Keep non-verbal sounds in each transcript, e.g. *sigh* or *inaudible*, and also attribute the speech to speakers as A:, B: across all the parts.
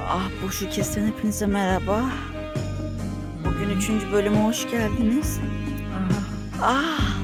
A: Ah boşu kesen hepinize merhaba. Bugün üçüncü bölüme hoş geldiniz. Ah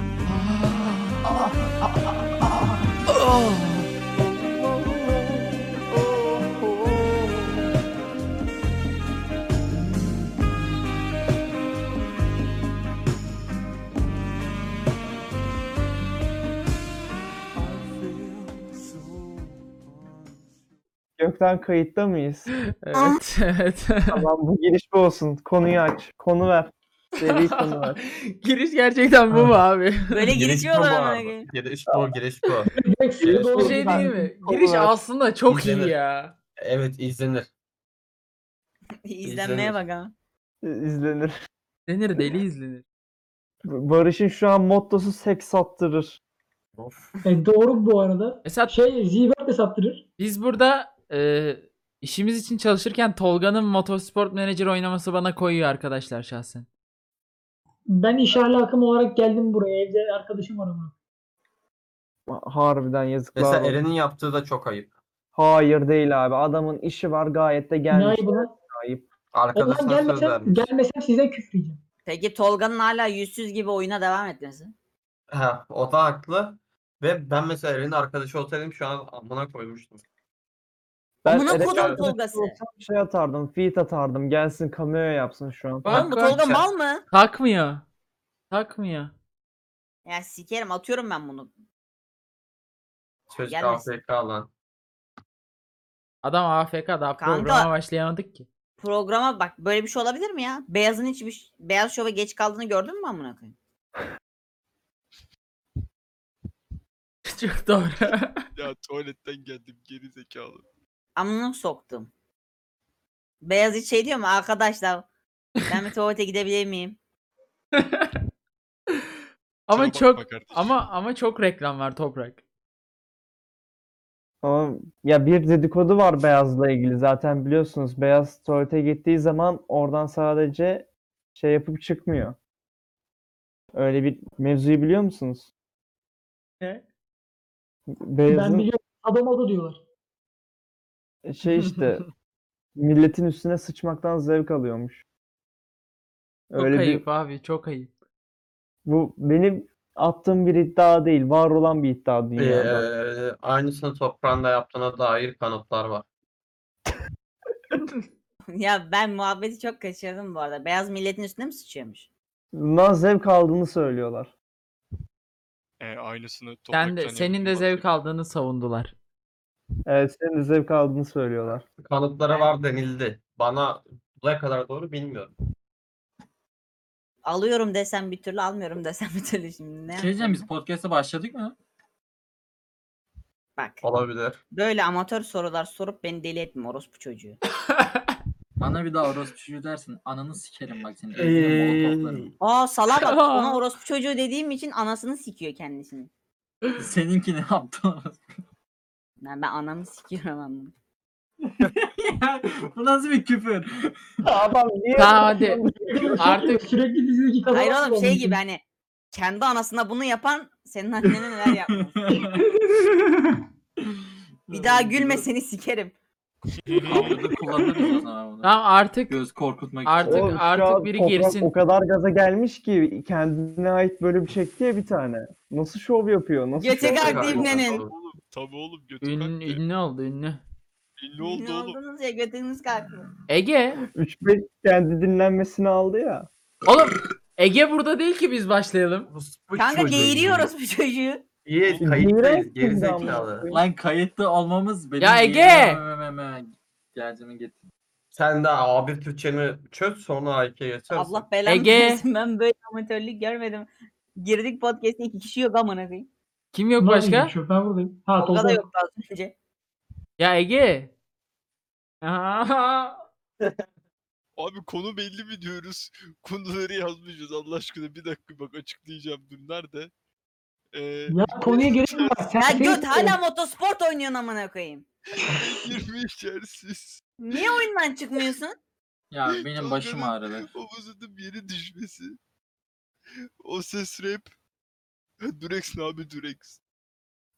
B: Gökten kayıtta mıyız?
C: Evet, *laughs* evet.
B: tamam bu giriş bu olsun. Konuyu aç. Konu ver.
A: *laughs*
B: Seri konu ver.
C: *laughs* Giriş gerçekten bu mu abi?
A: böyle girişiyorlar ama.
D: Giriş bu, giriş bu.
B: Giriş
C: Bir
B: olur
C: şey
B: ben.
C: değil mi?
B: Konu
C: Giriş
B: ver.
C: aslında çok iyi
D: İzlenir.
C: ya.
D: *laughs* Evet izlenir.
A: İzlenmeye bak ha.
B: İzlenir.
C: İzlenir, deli izlenir.
B: Barış'ın şu an mottosu seks attırır.
D: Of.
E: E, doğru bu arada.
C: Mesela
E: Şey Zibert de saptırır.
C: biz burada e, işimiz için çalışırken Tolga'nın motorsport menajer oynaması bana koyuyor arkadaşlar şahsen.
E: Ben iş ahlakım olarak geldim buraya. Evde arkadaşım var ama.
B: Harbiden yazıklar
D: Mesela
B: olsun.
D: Eren'in yaptığı da çok ayıp.
B: Hayır değil abi. Adamın işi var gayet de
E: Ne
B: gelmiş.
E: ayıbı lan?
B: Ayıp.
E: O zaman
D: Arkadaşına söz
E: gelmesem,
D: vermiş.
E: gelmesem size küfreyeceğim.
A: Peki Tolga'nın hala yüzsüz gibi oyuna devam etmesi.
D: Ha, o da haklı. Ve ben mesela Eren'in arkadaşı olsaydım şu an amına koymuştum.
A: Amına
B: Eren'in
A: kodum
B: arkadaşı
A: Tolga'sı.
B: olsam Şey atardım. Feed atardım. Gelsin cameo yapsın şu an.
C: Bak,
A: Lan bu Tolga mal mı?
C: Takmıyor. Takmıyor.
A: Ya sikerim atıyorum ben bunu.
D: Çocuk
A: Gelmesin.
D: AFK lan.
C: Adam AFK daha
A: Kanka.
C: programa başlayamadık ki. *laughs*
A: Programa bak böyle bir şey olabilir mi ya? Beyaz'ın hiçbir beyaz şova geç kaldığını gördün mü amına koyayım?
C: çok doğru. *laughs*
F: Ya tuvaletten geldim geri zekalı.
A: Amına soktum. Beyaz hiç şey diyor mu arkadaşlar? Ben
G: *laughs*
A: bir tuvalete gidebilir miyim? *laughs*
C: ama
F: Sana
C: çok
F: bakma kardeşim.
C: ama ama çok reklam var Toprak.
B: Ama ya bir dedikodu var Beyaz'la ilgili zaten biliyorsunuz. Beyaz tuvalete gittiği zaman oradan sadece şey yapıp çıkmıyor. Öyle bir mevzuyu biliyor musunuz?
C: Ne?
B: Beyaz'ın
E: Ben biliyorum. Adam oldu diyorlar.
B: şey
C: *laughs*
B: işte milletin üstüne sıçmaktan zevk alıyormuş.
C: Çok
B: Öyle bir
C: ayıp abi, çok ayıp.
B: bu benim attığım bir iddia değil, var olan bir iddia dünyada.
D: Ee, aynısını toprağında yaptığına dair kanıtlar var.
A: ya ben muhabbeti çok kaçırdım bu arada. Beyaz milletin üstüne mi sıçıyormuş?
B: Bundan zevk aldığını söylüyorlar.
F: E, aynısını topraktan
C: Sen de,
F: yaptım
C: senin de
F: bak.
C: zevk aldığını savundular.
B: Evet, senin de zevk aldığını söylüyorlar.
D: Kanıtları var denildi. Bana ne kadar doğru bilmiyorum.
A: Alıyorum desem bir türlü almıyorum desem bir türlü şimdi ne?
G: Şey diyeceğim
A: yapayım?
G: biz podcast'a başladık mı?
A: Bak
D: Olabilir.
A: böyle amatör sorular sorup beni deli etme orospu çocuğu.
G: Bana bir daha orospu çocuğu dersin. Ananı sikerim bak seni.
D: Ee,
G: Ee... *laughs*
A: Aa sala bak ona orospu çocuğu dediğim için anasını sikiyor kendisini.
G: Seninki ne yaptı?
A: Yani ben anamı sikiyorum
G: *laughs*
A: anladım.
G: Ya, *laughs* Bu nasıl bir küfür?
B: Adam niye
C: Tamam hadi. Artık-
E: *laughs* Sürekli dizideki kadar.
A: Hayır oğlum şey gibi hani kendi anasına bunu yapan senin annene neler yapmış. *laughs* Bir daha
G: *laughs*
A: gülme seni sikerim.
G: Kavgada kullanırız o zaman bunu.
C: Tamam artık
G: Göz korkutmak
C: Artık-
G: için.
B: şu
C: artık
B: an
C: biri
B: Toprak
C: girsin.
B: O kadar gaza gelmiş ki kendine ait bölüm çekti ya bir tane. Nasıl şov yapıyor? Nasıl
A: Göte
B: şov
A: Tekrar
B: yapıyor?
A: değil mi? dinlenin.
F: Oğlum, Tabii oğlum götü
C: ünlü,
F: kalktı.
C: ünlü oldu ünlü.
F: Ünlü oldu
A: Ne
F: oğlum.
A: oldunuz ya götünüz kalktı.
C: Ege.
B: 3-5 kendi dinlenmesini aldı ya.
C: Oğlum Ege burada değil ki biz başlayalım.
A: Kanka geğiriyor orospu çocuğu.
D: İyi
B: Direkt
D: kayıttayız
B: girdi ama.
D: gerizekalı.
G: Lan kayıtlı olmamız benim...
C: Ya Ege!
G: yeğenime- Gerçimi getir.
D: Sen de A1 Türkçeni çöz sonra AIK'ye geçersin.
A: Allah belanı
C: Ege.
A: versin ben böyle amatörlük görmedim. Girdik podcast'e iki kişi yok amına koyayım.
C: Kim yok başka?
E: Ben buradayım. Ha
A: Tolga da
E: Tolga.
A: yoktu az önce.
C: Ya Ege. *laughs* Aa,
F: Abi konu belli mi diyoruz? *laughs* Konuları yazmışız Allah aşkına bir dakika bak açıklayacağım dur nerede? Ee,
E: Ya konuya gerek mi var? Sen
A: Ya
E: şey-
A: göt hala motosport oynuyorsun amına koyayım.
F: 20 içersiz.
A: Niye oyundan çıkmıyorsun?
G: Ya benim başım ağrıdı.
F: Omuzunun yeri düşmesi. O ses rap. Durex ne abi Durex?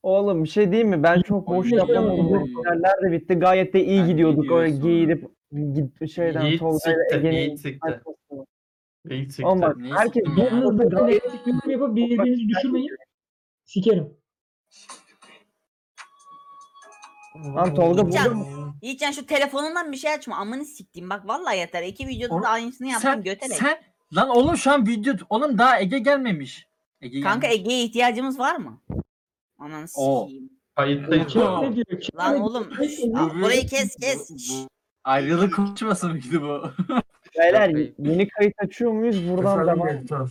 B: Oğlum bir şey diyeyim mi? Ben çok
G: Oy,
B: boş
E: ne
B: yapamadım.
G: diyorsun?
B: Yerler de bitti. Gayet de iyi
G: Sen ne
B: gidiyorduk. Öyle
G: diyorsun?
B: giyinip git şeyden
D: Yiğit
B: Tolga'yla
D: sikti,
B: Ege'nin
D: Yiğit sikti.
B: arkasına.
D: İyi çıktı.
B: Oğlum bak
G: Neyi
B: herkes
G: siktim ya?
B: bu
E: Yalnız
B: da
E: böyle
B: gayet
E: eksik yorum yapıp birbirinizi düşürmeyin. Sikerim.
B: Lan Tolga burada
A: Can.
B: mı?
A: Yiğitcan şu telefonundan bir şey açma. Amını siktiğim. Bak vallahi yeter. İki videoda
G: Oğlum,
A: da aynısını yaptım
G: Sen,
A: göterek.
G: sen lan oğlum şu an video oğlum daha Ege gelmemiş. Ege
A: Kanka
G: gelmiş.
A: Ege'ye ihtiyacımız var mı? Ananı
G: Oo.
A: sikeyim.
D: Kayıttayız.
E: Kim
D: bu arada.
E: ne diyor? Kim
A: Lan
E: ne
A: oğlum.
E: diyor?
A: şş, al,
G: Bu-
A: Burayı kes
G: *laughs*
A: kes.
G: bu-
A: Şş.
G: Ayrılık konuşması mıydı bu?
B: Beyler
D: Bey.
B: yeni kayıt açıyor muyuz? Buradan devam.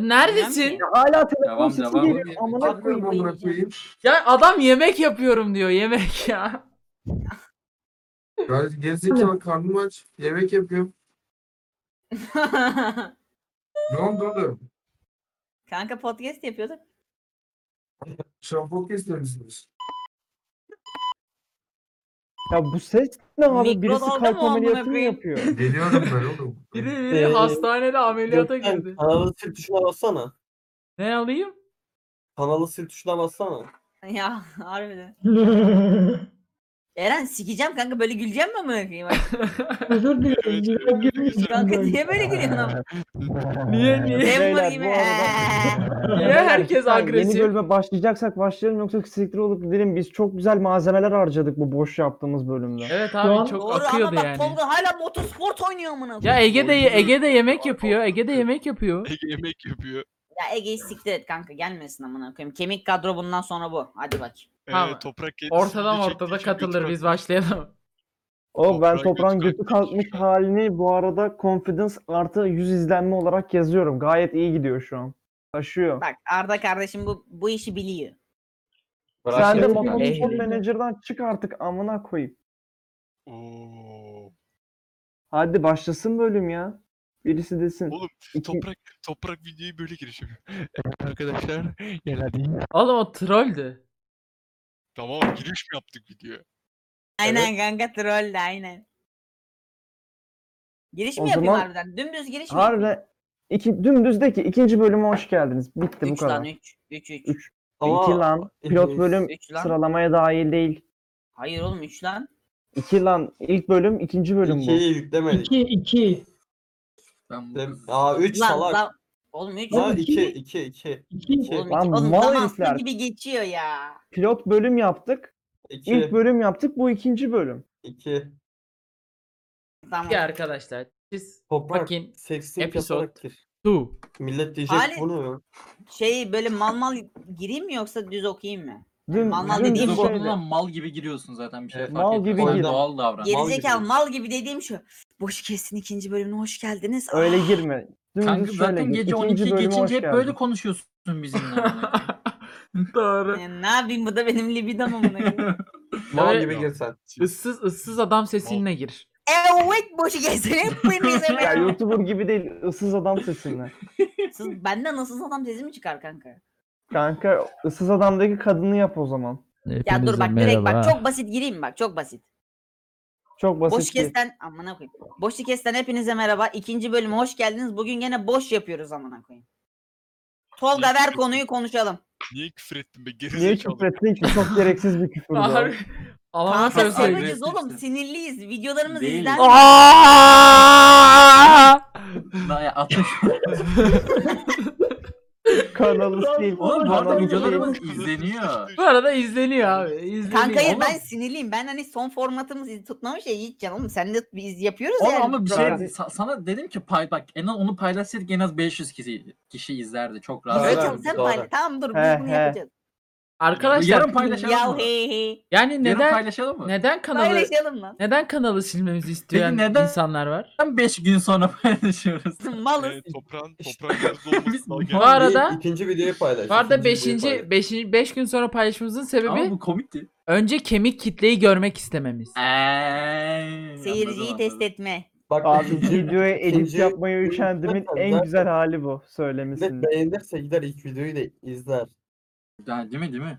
C: Neredesin?
B: Ya Hala telefon
G: Devam,
B: sesi
G: devam.
B: geliyor. Amına koyayım.
C: Ya adam yemek yapıyorum diyor yemek ya.
H: Gayet gerizekalı karnım aç. Yemek yapıyorum. Ne oldu oğlum?
A: Kanka podcast yapıyorduk.
H: Şampok ister misiniz?
B: Ya bu ses ne abi? Birisi
A: Mikrodalga
B: kalp
A: mı amına
B: ameliyatı mı
A: koyayım?
C: *laughs*
B: yapıyor?
H: Geliyorum ben oğlum.
C: Biri
D: Ee,
C: biri hastanede ameliyata
D: Gökten,
C: girdi.
D: Kanalı sil tuşuna bassana.
C: Ne alayım?
D: Kanalı sil tuşuna bassana.
A: *laughs* Ya
B: *laughs*
A: harbiden. Eren sikeceğim kanka böyle güleceğim mi amına koyayım?
C: *laughs*
E: Özür
F: Evet,
E: dilerim.
F: evet,
E: Yürek yemin
F: güzel.
E: ediyorum
A: Kanka
E: böyle.
A: niye böyle gülüyorsun
B: *laughs*
A: ama?
C: Niye niye?
A: Memur
B: Beyler,
A: gibi.
B: bu *laughs* arada-
C: Niye
B: Beyler,
C: herkes
B: lütfen
C: agresif?
B: Yeni bölüme başlayacaksak başlayalım yoksa siktir olup gidelim. Biz çok güzel malzemeler harcadık bu boş yaptığımız bölümde.
C: Evet
E: Şu an-
C: abi çok
A: Doğru ama
C: akıyordu
A: bak
C: yani.
A: Tolga hala motorsport oynuyor amına koyayım.
C: Ya Ege de Ege de yemek yapıyor. Ege de yemek yapıyor.
F: Ege yemek yapıyor.
A: Ya Ege'yi siktir et kanka gelmesin amına koyayım. Kemik kadro bundan sonra bu. Hadi bak.
F: Ee,
C: Tamam.
F: toprak kendisini
C: Ortadan
F: çektiği
C: ortada
F: için götü
C: katılır
F: kalktı.
C: biz başlayalım.
B: O ben
F: Toprağın
B: toprağın
F: götü
B: götü
F: kalkmış.
B: kalkmış halini bu arada confidence artı 100 izlenme olarak yazıyorum. Gayet iyi gidiyor şu an. Taşıyor.
A: Bak Arda kardeşim bu bu işi biliyor.
D: Bırak
B: Sen de
D: yapma.
B: motor
D: Ey,
B: spor menajerden çık artık amına koyayım.
F: Oo.
B: Hadi başlasın bölüm ya. Birisi desin.
F: Oğlum
B: İki-
F: toprak toprak videoyu böyle giriş *laughs* yapıyor. Evet arkadaşlar geldik.
C: Oğlum o trolldü.
F: Tamam giriş mi yaptık videoya?
A: Aynen kanka troll de aynen. Giriş mi
B: O
A: yapayım
B: zaman-
A: harbiden? Dümdüz giriş mi yapayım?
B: Harbiden iki, dümdüz de ki ikinci bölüme hoş geldiniz. Bitti bu
A: 3 lan
B: kadar.
A: 3. 3 3.
B: Üç. İki lan. Pilot bölüm
A: Üç lan.
B: sıralamaya dahil değil.
A: Hayır oğlum 3 lan.
B: İki lan ilk bölüm ikinci bölüm bu.
D: İkiyi yüklemedik.
E: 2 2
G: Ben bu
D: Dem- Aa 3
A: Lan
D: salak.
A: lan. Oğlum 3.
D: Lan
A: Oğlum
E: iki-
D: 2 2 2.
E: 2
D: İki.
A: oğlum,
B: Şey, Lan
A: iki- oğlum
B: mal
A: zaman
B: herifler.
A: aslı gibi geçiyor ya.
B: Pilot bölüm yaptık.
D: 2
B: İlk bölüm yaptık. Bu ikinci bölüm.
D: 2.
A: Tamam.
C: Ya arkadaşlar siz
D: Toprak
C: Fucking
D: seksin
C: episode.
D: yaparak gir.
C: tu.
D: Millet
A: Ali-
D: diyecek bunu mu?
A: Şey böyle mal mal gireyim mi yoksa düz okuyayım mı?
B: Dün,
A: Mal mal
B: dün
A: dediğim
B: bir
A: bu.
B: şeydi.
G: Zorla mal gibi giriyorsun zaten bir şey
D: Evet,
G: fark
B: mal
G: etmez.
B: gibi
G: Sen
B: gir.
G: Doğal davran.
D: Geri-
A: Gerizekalı mal gibi dediğim şu. Boş kesin ikinci bölümüne hoş geldiniz. Ah,
B: Öyle girme. Dümdüz
G: Kanka
B: şöyle
G: zaten
B: gir.
G: gece
B: İkinci
G: 12
B: bölüme hoş
G: geçince hep
B: geldin.
G: böyle konuşuyorsun bizimle. *laughs*
C: Doğru.
A: e, ne yapayım bu da benim libidom amına koyayım.
B: *laughs*
D: Mal
C: Evet.
D: gibi gir sen.
C: Issız ıssız adam sesinle gir.
A: Evet boşu kesin
B: *laughs*
A: hepinize
B: Ya
A: merhaba.
B: YouTuber gibi değil, ıssız adam sesinle.
A: Siz benden nasıl adam sesi mi çıkar kanka?
B: Kanka ıssız adamdaki kadını yap o zaman.
A: Ya dur bak direkt bak çok basit gireyim bak çok basit.
B: Çok basit.
A: Boş
B: bir-
A: kesten amına koyayım. Boş kesten hepinize merhaba. İkinci bölüme hoş geldiniz. Bugün gene boş yapıyoruz amına koyayım. Tolga ver konuyu konuşalım.
F: Niye küfür ettin be gerizekalı?
B: Niye küfür ettin ki? Çok gereksiz bir küfür bu.
C: Harbi. Allah'ım
A: Kanka
G: çok
C: *laughs* söyleyeyim.
A: sevmeyeceğiz
G: agresifsin.
A: oğlum sinirliyiz. Videolarımız
G: Değil.
A: izlenmiyor.
C: Aaaaaaah!
G: Daha atış.
B: Kanalı sil.
G: *laughs* Oğlum bu arada
B: kanalı
G: videolarımız
B: sil.
F: Ee,
G: *laughs* izleniyor.
C: Bu arada izleniyor abi. izleniyor.
A: Kanka hayır ben
C: Oğlum,
A: sinirliyim. Ben hani son formatımız iz- tutmamış ya Yiğit canım. Sen de biz yapıyoruz
G: Oğlum
A: yani.
G: ama bir şey
B: Zaten-
G: sa- sana dedim ki pay bak en az onu paylaşsaydık en az 500 kişi, kişi izlerdi çok rahat.
A: Evet
D: Doğru,
A: canım, sen
D: doğru.
A: paylaş. Tamam dur
B: He,
A: biz bunu
B: he.
A: yapacağız.
C: Arkadaşlar
G: Yarın paylaşalım
A: Ya
G: mı?
A: hey hey.
C: yani
G: Yarın
C: neden
G: paylaşalım mı?
C: neden kanalı
A: Paylaşalım lan.
C: neden kanalı silmemizi isteyen
G: neden-
C: insanlar var?
G: Neden 5 gün sonra *laughs* paylaşıyoruz?
A: Malız.
F: Ee, toprağın toprağın yazılı olması
G: Biz-
F: daha
C: Bu
F: gerçek.
C: arada
D: ikinci videoyu paylaş.
C: bu arada
D: ikinci videoyu
C: 5.
D: paylaş.
C: 5. 5 gün sonra paylaşmamızın
G: Ama
C: sebebi
G: bu komikti.
C: önce kemik kitleyi görmek istememiz.
G: Eee,
A: Seyirciyi
G: anladım,
A: test
G: anladım.
A: etme.
D: Bak
B: Abi
D: ikinci
B: videoya edit
D: ikinci-
B: yapmayı üşendimin en güzel hali bu
D: Millet
B: söylemesinde.
D: beğenirse gider ilk videoyu da izler.
G: Yani, değil mi değil mi?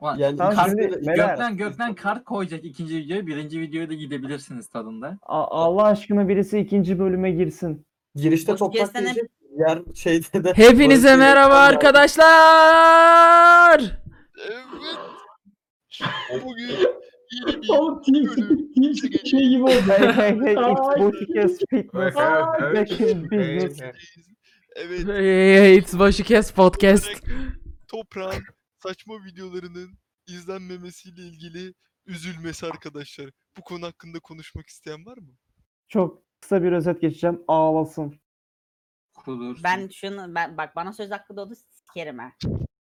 G: Ulan,
D: Yani
B: Tamam,
G: kar-
B: şimdi
D: ikisini de-
B: Meral-
G: gökten gökten kart koyacak ikinci videoya. Birinci videoya da gidebilirsiniz tadında.
B: A- Allah aşkına birisi ikinci bölüme *laughs* girsin.
D: Girişte
A: Hoş
D: toprak
A: gelsene.
D: diyecek. Yer şeyde de.
C: Hepinize merhaba
D: arkadaşlar.
C: arkadaşlar.
F: Evet.
E: Oğlum Team Speak, Team Speak şey gibi oldu.
B: Hey hey hey
E: Ay.
B: it's Boşikes fitness.
H: Evet,
B: Back in business.
F: Evet.
C: Hey, hey, it's başı kes podcast.
F: Toprağın saçma videolarının izlenmemesiyle ilgili üzülmesi arkadaşlar. Bu konu hakkında konuşmak isteyen var mı?
B: Çok kısa bir özet geçeceğim. Ağlasın.
G: Kurulur.
A: Ben şunu ben bak bana söz hakkı doğdu sikerim ha.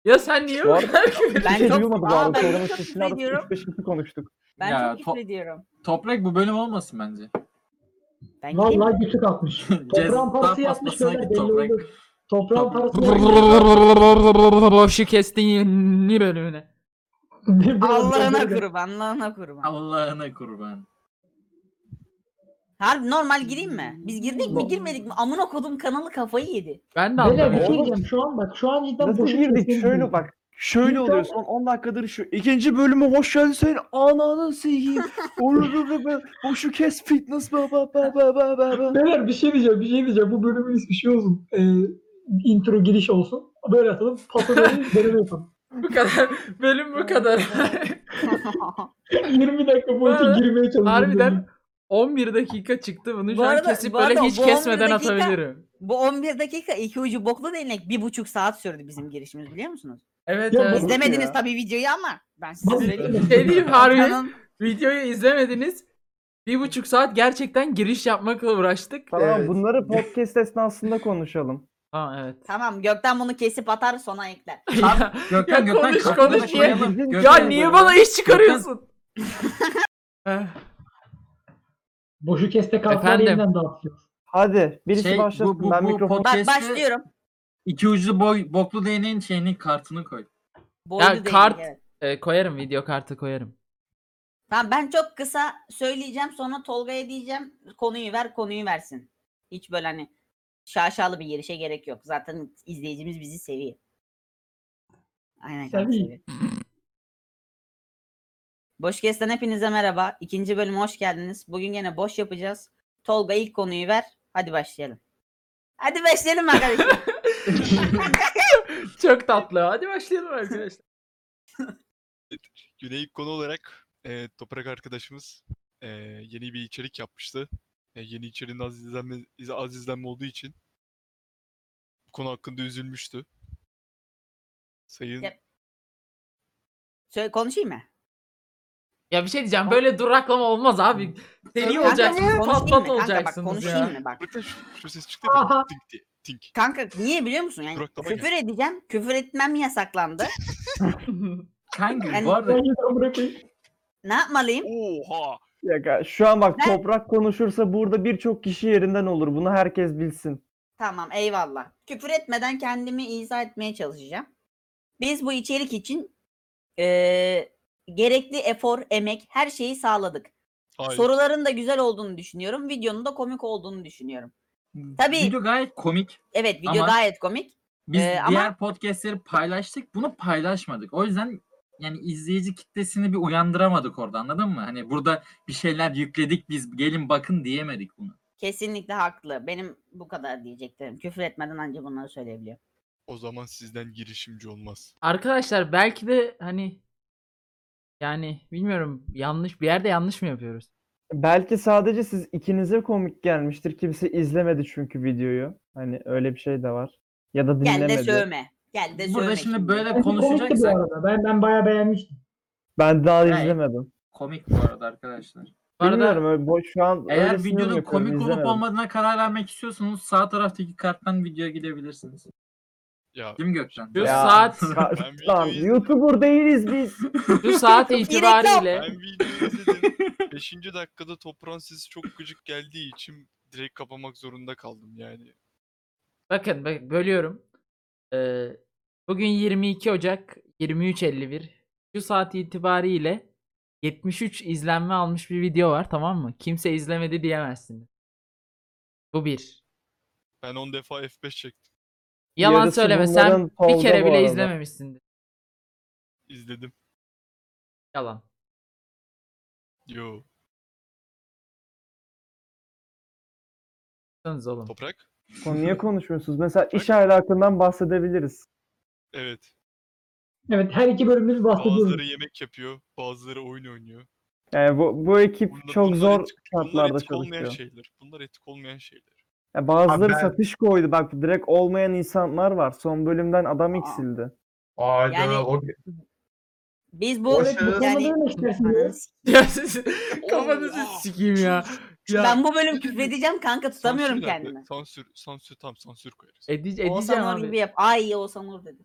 C: Ya sen niye bu
B: Var.
C: kadar küfür-
A: Ben
B: Hiç
A: çok-
B: duyulmadı şey bu
A: Aa,
B: arada.
A: ben
B: Programın
A: çok
B: sesini aradık,
A: seviyorum.
B: üç beş kişi konuştuk.
A: Ben
G: Ya,
A: çok
G: to-
A: küfür ediyorum.
G: Toprak bu bölüm olmasın bence.
A: Ben gideyim.
E: Vallahi götü kalkmış. Toprağın
G: Ceza
E: parası yapmış
G: paspasına
E: böyle
G: git
E: belli
G: Toprak.
E: olur. Toprağın
G: Toprak.
E: parası yapmış.
C: Başı kestin yeni bölümüne.
E: *laughs*
A: Allah'ına kurban, Allah'ına kurban.
G: Allah'ına kurban.
A: Harbi normal gireyim mi? Biz girdik mi girmedik mi? Amına kodum kanalı kafayı yedi.
C: Ben de
E: Beyler bir şey
C: anlamıyorum.
E: diyeceğim. Şu an bak şu an cidden
B: Nasıl
E: boşu
B: girdik?
E: kesin
B: Şöyle
E: değil.
B: bak. Şöyle oluyor son 10 dakikadır şu. ikinci bölümü hoş geldin senin ananı *laughs* seyir. Boşu kes fitness baba baba baba baba.
E: Beyler bir şey diyeceğim, bir şey diyeceğim. Bu bölümün ismi şey olsun. Ee, intro giriş olsun. Böyle atalım. Pasa dönün, deneme yapalım.
C: Bu kadar. Bölüm
A: *laughs*
C: bu kadar.
E: 20 dakika boyunca
C: Ha,
E: girmeye çalışalım.
C: Harbiden 11 dakika çıktı. Bunu şu
A: Bu
C: an
A: arada-
C: kesip
A: bu
C: böyle
A: arada
C: hiç
A: bu 11
C: kesmeden
A: dakika-
C: atabilirim.
A: Bu 11 dakika iki ucu boklu değnek bir buçuk saat sürdü bizim girişimiz biliyor musunuz?
C: Evet
E: Ya bu-
C: evet.
A: İzlemediniz tabii videoyu ama ben size
E: Bak-
A: söyleyeyim.
C: Şey diyeyim harbi.
A: Kanal-
C: Videoyu izlemediniz. Bir buçuk saat gerçekten giriş yapmakla uğraştık.
B: Tamam
H: Evet.
B: bunları podcast esnasında konuşalım.
C: Ha evet. *laughs*
A: Tamam Gökten bunu kesip atar sona ekler.
C: Ya,
G: Gökhan
C: Ya
G: Gökhan
C: konuş,
G: kafana
C: konuş, niye-
G: koyalım.
B: Ya
C: ya
G: Gökhan-
C: niye bana iş
G: *laughs*
C: çıkarıyorsun? Eh,
E: Boşu keste kalkmalar
C: Efendim?
E: yeniden dağıtılıyor.
B: Hadi birisi
G: Şey, bu-
B: başlasın
G: bu-
B: ben
G: bu
B: mikrofonu
A: Bak
G: Keşke-
A: başlıyorum.
G: İki uçlu boy boklu değneğin şeyini kartını koy.
A: Boylu değnek,
C: kart-
A: evet.
C: e, koyarım video kartı koyarım.
A: *laughs* Tamam ben çok kısa söyleyeceğim sonra Tolga'ya diyeceğim konuyu ver konuyu versin. Hiç böyle hani şaşalı bir girişe gerek yok. Zaten izleyicimiz bizi seviyor. Aynen kanka
E: Tabii.
A: seviyor. Boş Kes'ten hepinize merhaba. İkinci bölüme hoş geldiniz. Bugün gene boş yapacağız. Tolga ilk konuyu ver. Hadi başlayalım. Hadi başlayalım
C: *laughs*
A: arkadaşlar.
C: Çok tatlı. Hadi başlayalım arkadaşlar.
F: Güney ilk konu olarak e, Toprak arkadaşımız e, yeni bir içerik yapmıştı. E, yeni içeriğin az izlenme, iz- az izlenme olduğu için bu konu hakkında üzülmüştü. Sayın
A: Yap. Söyle, konuşayım mı?
C: *laughs* ya bir şey diyeceğim. Böyle duraklama olmaz abi. Deli
A: Kanka,
C: olacaksınız.
A: konuşayım mı?
C: Patlat
A: Kanka, bak,
C: olacaksınız
A: konuşayım
C: ya.
A: mı? Bak.
F: Toprak'tan şu, şu ses çıktı ya.
E: Aha.
F: Tink diye. Tink.
A: Kanka niye biliyor musun? Yani
F: Duraklama
A: küfür edeceğim. Küfür etmem yasaklandı.
G: Kanka
A: Yani-
G: bu
E: Ben
G: arada
E: yeniden bırakayım.
A: ne yapmalıyım?
F: Oha!
B: Ya, şu an bak
A: Ben-
B: toprak konuşursa burada birçok kişi yerinden olur. Bunu herkes bilsin.
A: Tamam eyvallah. Küfür etmeden kendimi izah etmeye çalışacağım. Biz bu içerik için eee, gerekli efor, emek her şeyi sağladık.
F: Hayır.
A: Soruların da güzel olduğunu düşünüyorum. Videonun da komik olduğunu düşünüyorum. Tabii.
G: video gayet komik.
A: Evet video
G: Ama-
A: gayet komik.
G: Biz
A: Ee, ama-
G: diğer podcastleri paylaştık. Bunu paylaşmadık. O yüzden yani izleyici kitlesini bir uyandıramadık orada anladın mı? Hani burada bir şeyler yükledik biz gelin bakın diyemedik bunu.
A: Kesinlikle haklı. Benim bu kadar diyeceklerim. Küfür etmeden ancak bunları söyleyebiliyorum.
F: O zaman sizden girişimci olmaz.
C: Arkadaşlar belki de hani yani bilmiyorum yanlış bir yerde yanlış mı yapıyoruz?
B: Belki sadece siz ikinize komik gelmiştir. Kimse izlemedi çünkü videoyu. Hani öyle bir şey de var. Ya da
A: Gel de
B: dinlemedi.
A: sövme. Gel de sövme.
G: Burada şimdi böyle
E: Bence komikti bu
G: konuşacaksak
E: arada. Ben, ben bayağı beğenmiştim.
B: Ben daha
G: Evet.
B: izlemedim.
G: komik bu arada arkadaşlar.
C: Bu arada-
B: Bilmiyorum öyle boş şu an
G: Eğer
B: öylesine mi
G: videonun
B: yapıyorum,
G: komik olup
B: izlemedim.
G: olmadığına karar vermek istiyorsanız sağ taraftaki karttan videoya gidebilirsiniz.
F: Ya
G: Değil mi Gökçen?
C: Şu
B: Ya. *laughs*
C: saat
B: Ya,
F: Ben
B: *laughs*
F: videoyu
B: lan
F: izledim.
B: YouTuber değiliz biz.
C: şu saat
A: Gerek yok.
C: itibariyle
F: ben videoyu izledim. Beşinci dakikada toprağın sesi çok gıcık geldiği için direkt kapamak zorunda kaldım yani.
C: bakın bak- bölüyorum. Ee, bugün 22 Ocak 23.51. Şu saat itibariyle 73 izlenme almış bir video var tamam mı? Kimse izlemedi diyemezsiniz. Bu bir.
F: Ben 10 defa F5 çektim.
C: Yalan
B: Yarısı
C: söyleme
B: bunların
C: sen bir
B: tolda
C: kere
B: bu
C: bile
B: arada.
C: izlememişsindir.
F: İzledim.
C: Yalan.
F: Yo.
C: Sanız oğlum.
F: Toprak?
B: Konuya konuşmuyorsunuz. Mesela iş ahlakından bahsedebiliriz.
F: Evet.
E: Evet her iki bölümümüz bahsediyoruz.
F: Bazıları yemek yapıyor. Bazıları oyun oynuyor.
B: Yani bu, bu ekip
F: Bunda-
B: çok
F: bunlar
B: zor
F: etik- Bunlar
B: şartlarda
F: etik olmayan şey.
B: çalışıyor.
F: şeyler. Bunlar etik olmayan şeyler.
B: Ya bazıları
H: ben-
B: satış koydu. Bak direkt olmayan insanlar var. Son bölümden adam
A: Aa.
B: eksildi.
H: Hayda.
A: Yani-
H: o-
A: Biz bu
H: Boş
A: yani,
H: ver.
A: Ananı s-
C: *laughs* Ya siz- Kafanızı sikeyim ya. ya.
A: ben bu bölüm küfredeceğim kanka tutamıyorum
F: Sansür nerede?
A: kendimi.
F: Sansür, sansür tam sansür koyarız.
C: Ede- edeceğim
A: Oğuzhan Uğur gibi
C: *laughs* abi.
A: yap. Ay Oğuzhan Uğur dedi.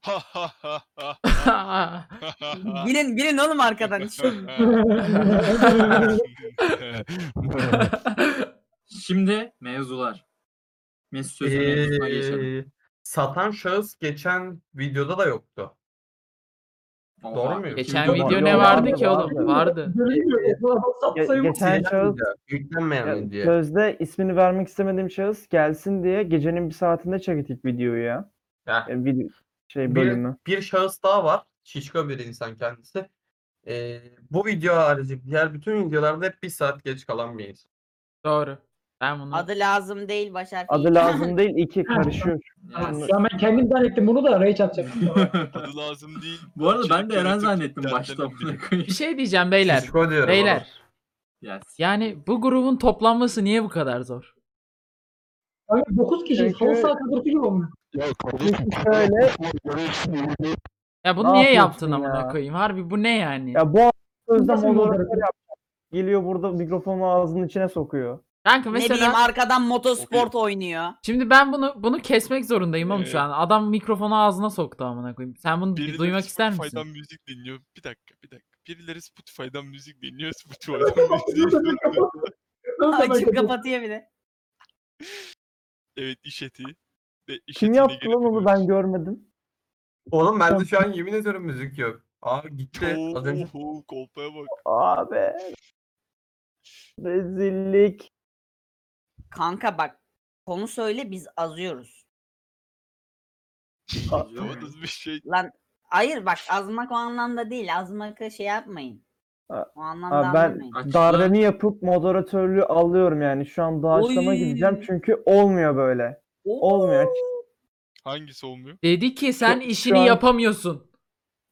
F: Ha ha ha ha. ha,
A: *laughs*
F: ha.
A: Bilin bilin oğlum
F: *laughs*
A: arkadan.
G: Şimdi mevzular. Mesut sözünü mevzusuna geçelim.
D: Ee, satan şahıs geçen videoda da yoktu.
G: Oha.
D: doğru muyum?
C: Geçen
B: Yok,
C: video
B: yok,
C: ne
B: vardı,
C: vardı ki oğlum?
B: vardı.
C: Vardı.
B: Ge- geçen şahıs
D: Yüklenmeyen
B: ya,
D: video.
B: sözde ismini vermek istemediğim şahıs gelsin diye gecenin bir saatinde çektik videoyu ya.
D: Ya.
B: Yani video, şey
D: Bir-
B: bölümü.
D: bir şahıs daha var. Şişko bir insan kendisi. Ee, bu video harici diğer bütün videolarda hep bir saat geç kalan bir insan.
C: Doğru. Ben
A: *laughs*
C: bunu
A: Adı lazım değil Başar.
B: Adı lazım değil iki karışıyor.
G: Evet.
E: Ya ben kendim zannettim bunu da
A: *laughs*
E: rage atacağım.
F: Adı lazım değil.
G: *laughs* Bu arada ben de
F: İçerik
G: Eren
F: yaratıcı
G: zannettim
F: kitlelerden
G: başta.
F: biri.
G: amına koyayım.
C: bir şey diyeceğim beyler.
D: Şişko diyorum
C: Beyler.
D: oğlum.
G: Ya s-
C: Yani bu grubun toplanması niye bu kadar zor?
E: Yani 9 kişi son
B: Çünkü-
E: saat kadar gibi olmuyor.
A: *laughs*
B: Şöyle
C: Ya bunu
B: Ne
C: niye
B: yapıyorsun
C: yaptın
B: ya?
C: amına koyayım? Harbi bu ne yani?
B: ya bu sözde
E: Nasıl
B: moderatör
E: moderatör?
B: yapacak. Geliyor burada mikrofonu ağzının içine sokuyor.
C: Kanka
A: Ne
C: mesela
A: bileyim arkadan motosport oynuyor.
C: şimdi ben bunu bunu kesmek zorundayım oğlum şu
F: Ee,
C: an. Adam mikrofonu ağzına soktu amına koyayım. Sen bunu
F: Birileri
C: duymak ister
F: Spotify'dan
C: misin?
F: müzik dinliyor. Bir dakika, bir dakika. Birileri Spotify'dan müzik dinliyor. Spotify'dan *laughs* müzik dinliyor.
E: Ön temel
A: Açıp
E: kapı.
A: kapatıyor bir de.
F: Evet, iş etiği. Ve iş
B: Kim
F: etiğine
B: yaptı
F: göre
B: lan onu
F: biliyoruz.
B: ben görmedim.
D: Oğlum ben de şu an yemin ediyorum müzik yok. Aa gitti. Az önce
F: Oho, kolpaya bak.
B: Abi. Rezillik.
A: Kanka bak konu söyle biz azıyoruz.
G: yazıyor mu?
F: Havadız bir şey.
A: Lan hayır bak azmak o anlamda değil. Azmakı şey yapmayın.
B: A-
A: O anlamda
B: Abi ben
A: anlamayın.
G: Açıkla.
B: darbemi yapıp moderatörlüğü alıyorum yani. Şu an doğaçlama
A: Oy.
B: gideceğim çünkü olmuyor böyle. Olmuyor.
F: Hangisi olmuyor?
C: Dedi ki sen
B: Şu-
C: işini
B: şu an-
C: yapamıyorsun.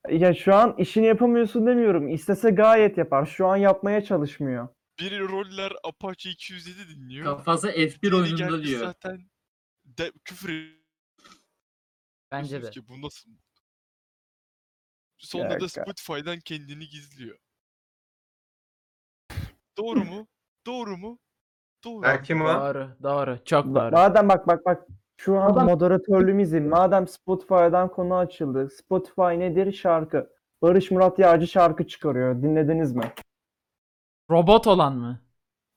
B: Ya şu an işini yapamıyorsun demiyorum. İstese gayet yapar. Şu an yapmaya çalışmıyor.
F: Biri roller Apache 207 dinliyor.
G: Kafası F1
F: Biri
G: oyununda
F: gelmiş
G: diyor.
F: Zaten de, küfür
C: Bence de.
F: ediyorsunuz ki bu nasıl? Sonra da
B: Yaka.
F: Spotify'dan kendini gizliyor. Doğru mu? Doğru mu? Doğru.
D: Ha, kim var?
C: Doğru, doğru. Çok doğru.
B: Madem bak bak bak. Şu an
E: Adam-
B: moderatörlüğüm izin. Madem Spotify'dan konu açıldı. Spotify nedir? Şarkı. Barış Murat Yağcı şarkı çıkarıyor. Dinlediniz mi?
C: Robot olan mı?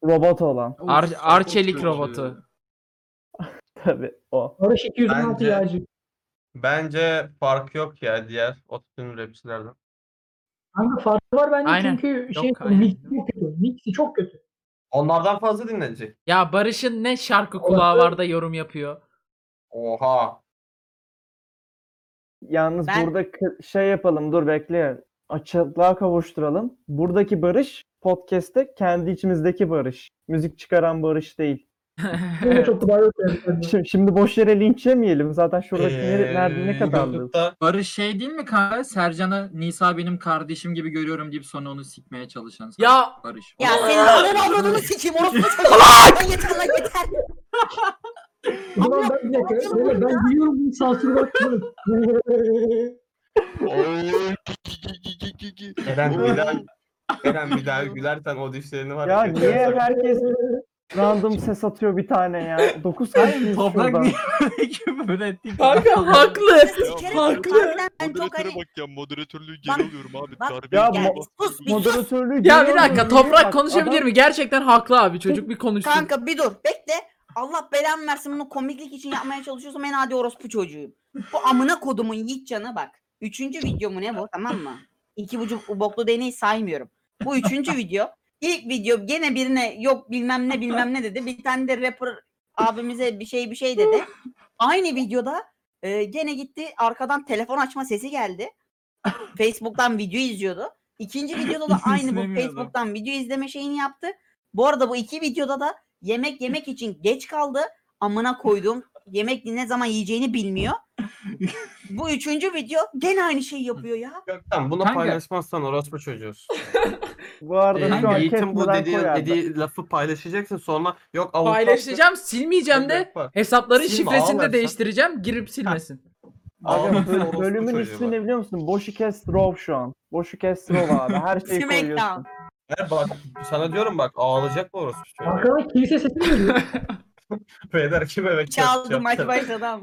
B: Robot olan.
C: Ar-
G: Of,
C: Arçelik
G: çok kötü.
C: robotu.
B: Tabii o.
E: Barış 216
D: Bence-
E: yağcı.
D: Bence fark yok ya diğer ototune rapçilerden.
E: Kanka farkı var bence
C: Aynen.
E: çünkü şey
C: aynen.
E: mixi çok kötü. Mixi çok kötü.
D: Onlardan fazla dinlenecek.
C: Ya Barış'ın ne şarkı kulağı var da yorum yapıyor.
D: Oha.
B: Yalnız
A: Ben-
B: burada kı- şey yapalım dur bekle. Açıklığa kavuşturalım. Buradaki Barış podcast'te kendi içimizdeki Barış. Müzik çıkaran Barış değil.
E: Bunun da çok kolay yok yani. bence.
B: Şimdi, şimdi boş yere linç yemeyelim. Zaten şuradaki
D: Ee,
B: nere- nerede ne
D: *laughs*
B: kadardı?
D: YouTube'da
G: Barış şey değil mi kanka? Sercan'a Nisa benim kardeşim gibi görüyorum deyip sonra onu sikmeye çalışan.
C: *laughs* Ya
G: Barış.
A: Ya
G: *laughs* Oğlum,
A: senin ananı avradını sikeyim orospu çocuğu. Lan yeter lan yeter.
E: O zaman ben bir dakika. Beyler ben biliyorum bunu
A: *laughs*
E: sansürü bak.
F: Oy, ki, ki, ki, ki, ki, ki.
D: Eren bir daha Eren bir daha gülersen o dişlerini var
B: Ya niye
D: götürüyorsun.
B: herkes random ses atıyor bir tane ya? 9 kişiyiz
G: Toprak
B: şurada.
G: niye böyle
C: *laughs*
G: küfür etti?
C: kanka haklı.
A: Sikerim.
C: haklı.
A: Harbiden ben çok
F: Moderatöre
A: hani.
F: bak ya moderatörlüğü
A: Bak-
F: geri alıyorum abi.
A: bak-
F: Darbe
B: Ya
F: yiyor.
A: Yani
B: mo-
A: sus bir sus.
B: *laughs* Moderatörlüğü
C: Ya bir
B: görüyor
C: dakika
B: musun?
C: toprak
B: Bak,
C: konuşabilir
B: adam-
C: mi? Gerçekten haklı abi. Çocuk bir konuşsun.
A: Kanka bir dur bekle. Allah belamı versin bunu komiklik için yapmaya çalışıyorsam en adi orospu çocuğuyum. Bu amına kodumun yiğit canı bak. Üçüncü video mu ne bu tamam mı? İki buçuk boklu deney saymıyorum. Bu üçüncü video. İlk video gene birine yok bilmem ne bilmem ne dedi. Bir tane de rapper abimize bir şey bir şey dedi. Aynı videoda e, gene gitti arkadan telefon açma sesi geldi. Facebook'tan video izliyordu. İkinci videoda da aynı bu
G: İzlemiyor adam.
A: Facebook'tan video izleme şeyini yaptı. Bu arada bu iki videoda da yemek yemek için geç kaldı. Amına koyduğum yemek ne zaman yiyeceğini bilmiyor. Bu üçüncü video gene aynı şeyi yapıyor ya.
D: Gökten bunu
G: Kanka-
D: paylaşmazsan orospu çocuğuz.
B: Bu arada şu an
D: Ee, Yiğit'in bu
B: kesmeden
D: dediği,
B: koy abi.
D: dediği lafı paylaşacaksın sonra yok avukat.
C: Paylaşacağım, silmeyeceğim de
D: Yapar.
C: hesapların
D: Silme,
C: şifresini de
D: ağlarsan.
C: değiştireceğim. Girip silmesin.
B: Aga,
D: Ağlamasın
B: böl-
D: orospu
B: bölümün
D: çocuğu
B: ismi
D: bak.
B: ne biliyor musun? Boşu kes Raw şu an. Boşu kes Raw abi. Her şeyi koyuyorsun.
A: Smackdown.
D: Her bak sana diyorum bak ağlayacak bu orospu çocuğu.
E: Arkadan kilise sesi geliyor.
C: *laughs*
D: Beyler kim evet
A: Çaldı maç başladı ama.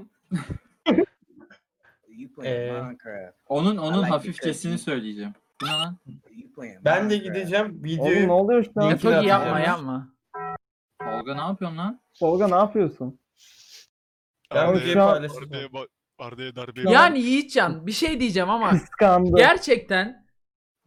I: You playing
D: Ee,
I: Minecraft?
G: Onun onun
I: like
G: hafifçesini
I: because-
G: söyleyeceğim. Bu ne lan?
I: You playing
D: Ben de
I: Minecraft?
D: gideceğim
B: Oğlum ne
D: videoyu
B: oluyor şu an?
D: Link-
C: Yatogi yapma
D: atacağım.
C: yapma.
G: Tolga ne yapıyorsun lan?
B: Tolga ne yapıyorsun?
D: Ben
B: Ama
D: videoyu
B: şu an-
D: paylaşacağım.
F: Arda'ya ba- Arda'ya darbe
C: Yani Yiğitcan bir şey diyeceğim ama
B: Kıskandı.
C: gerçekten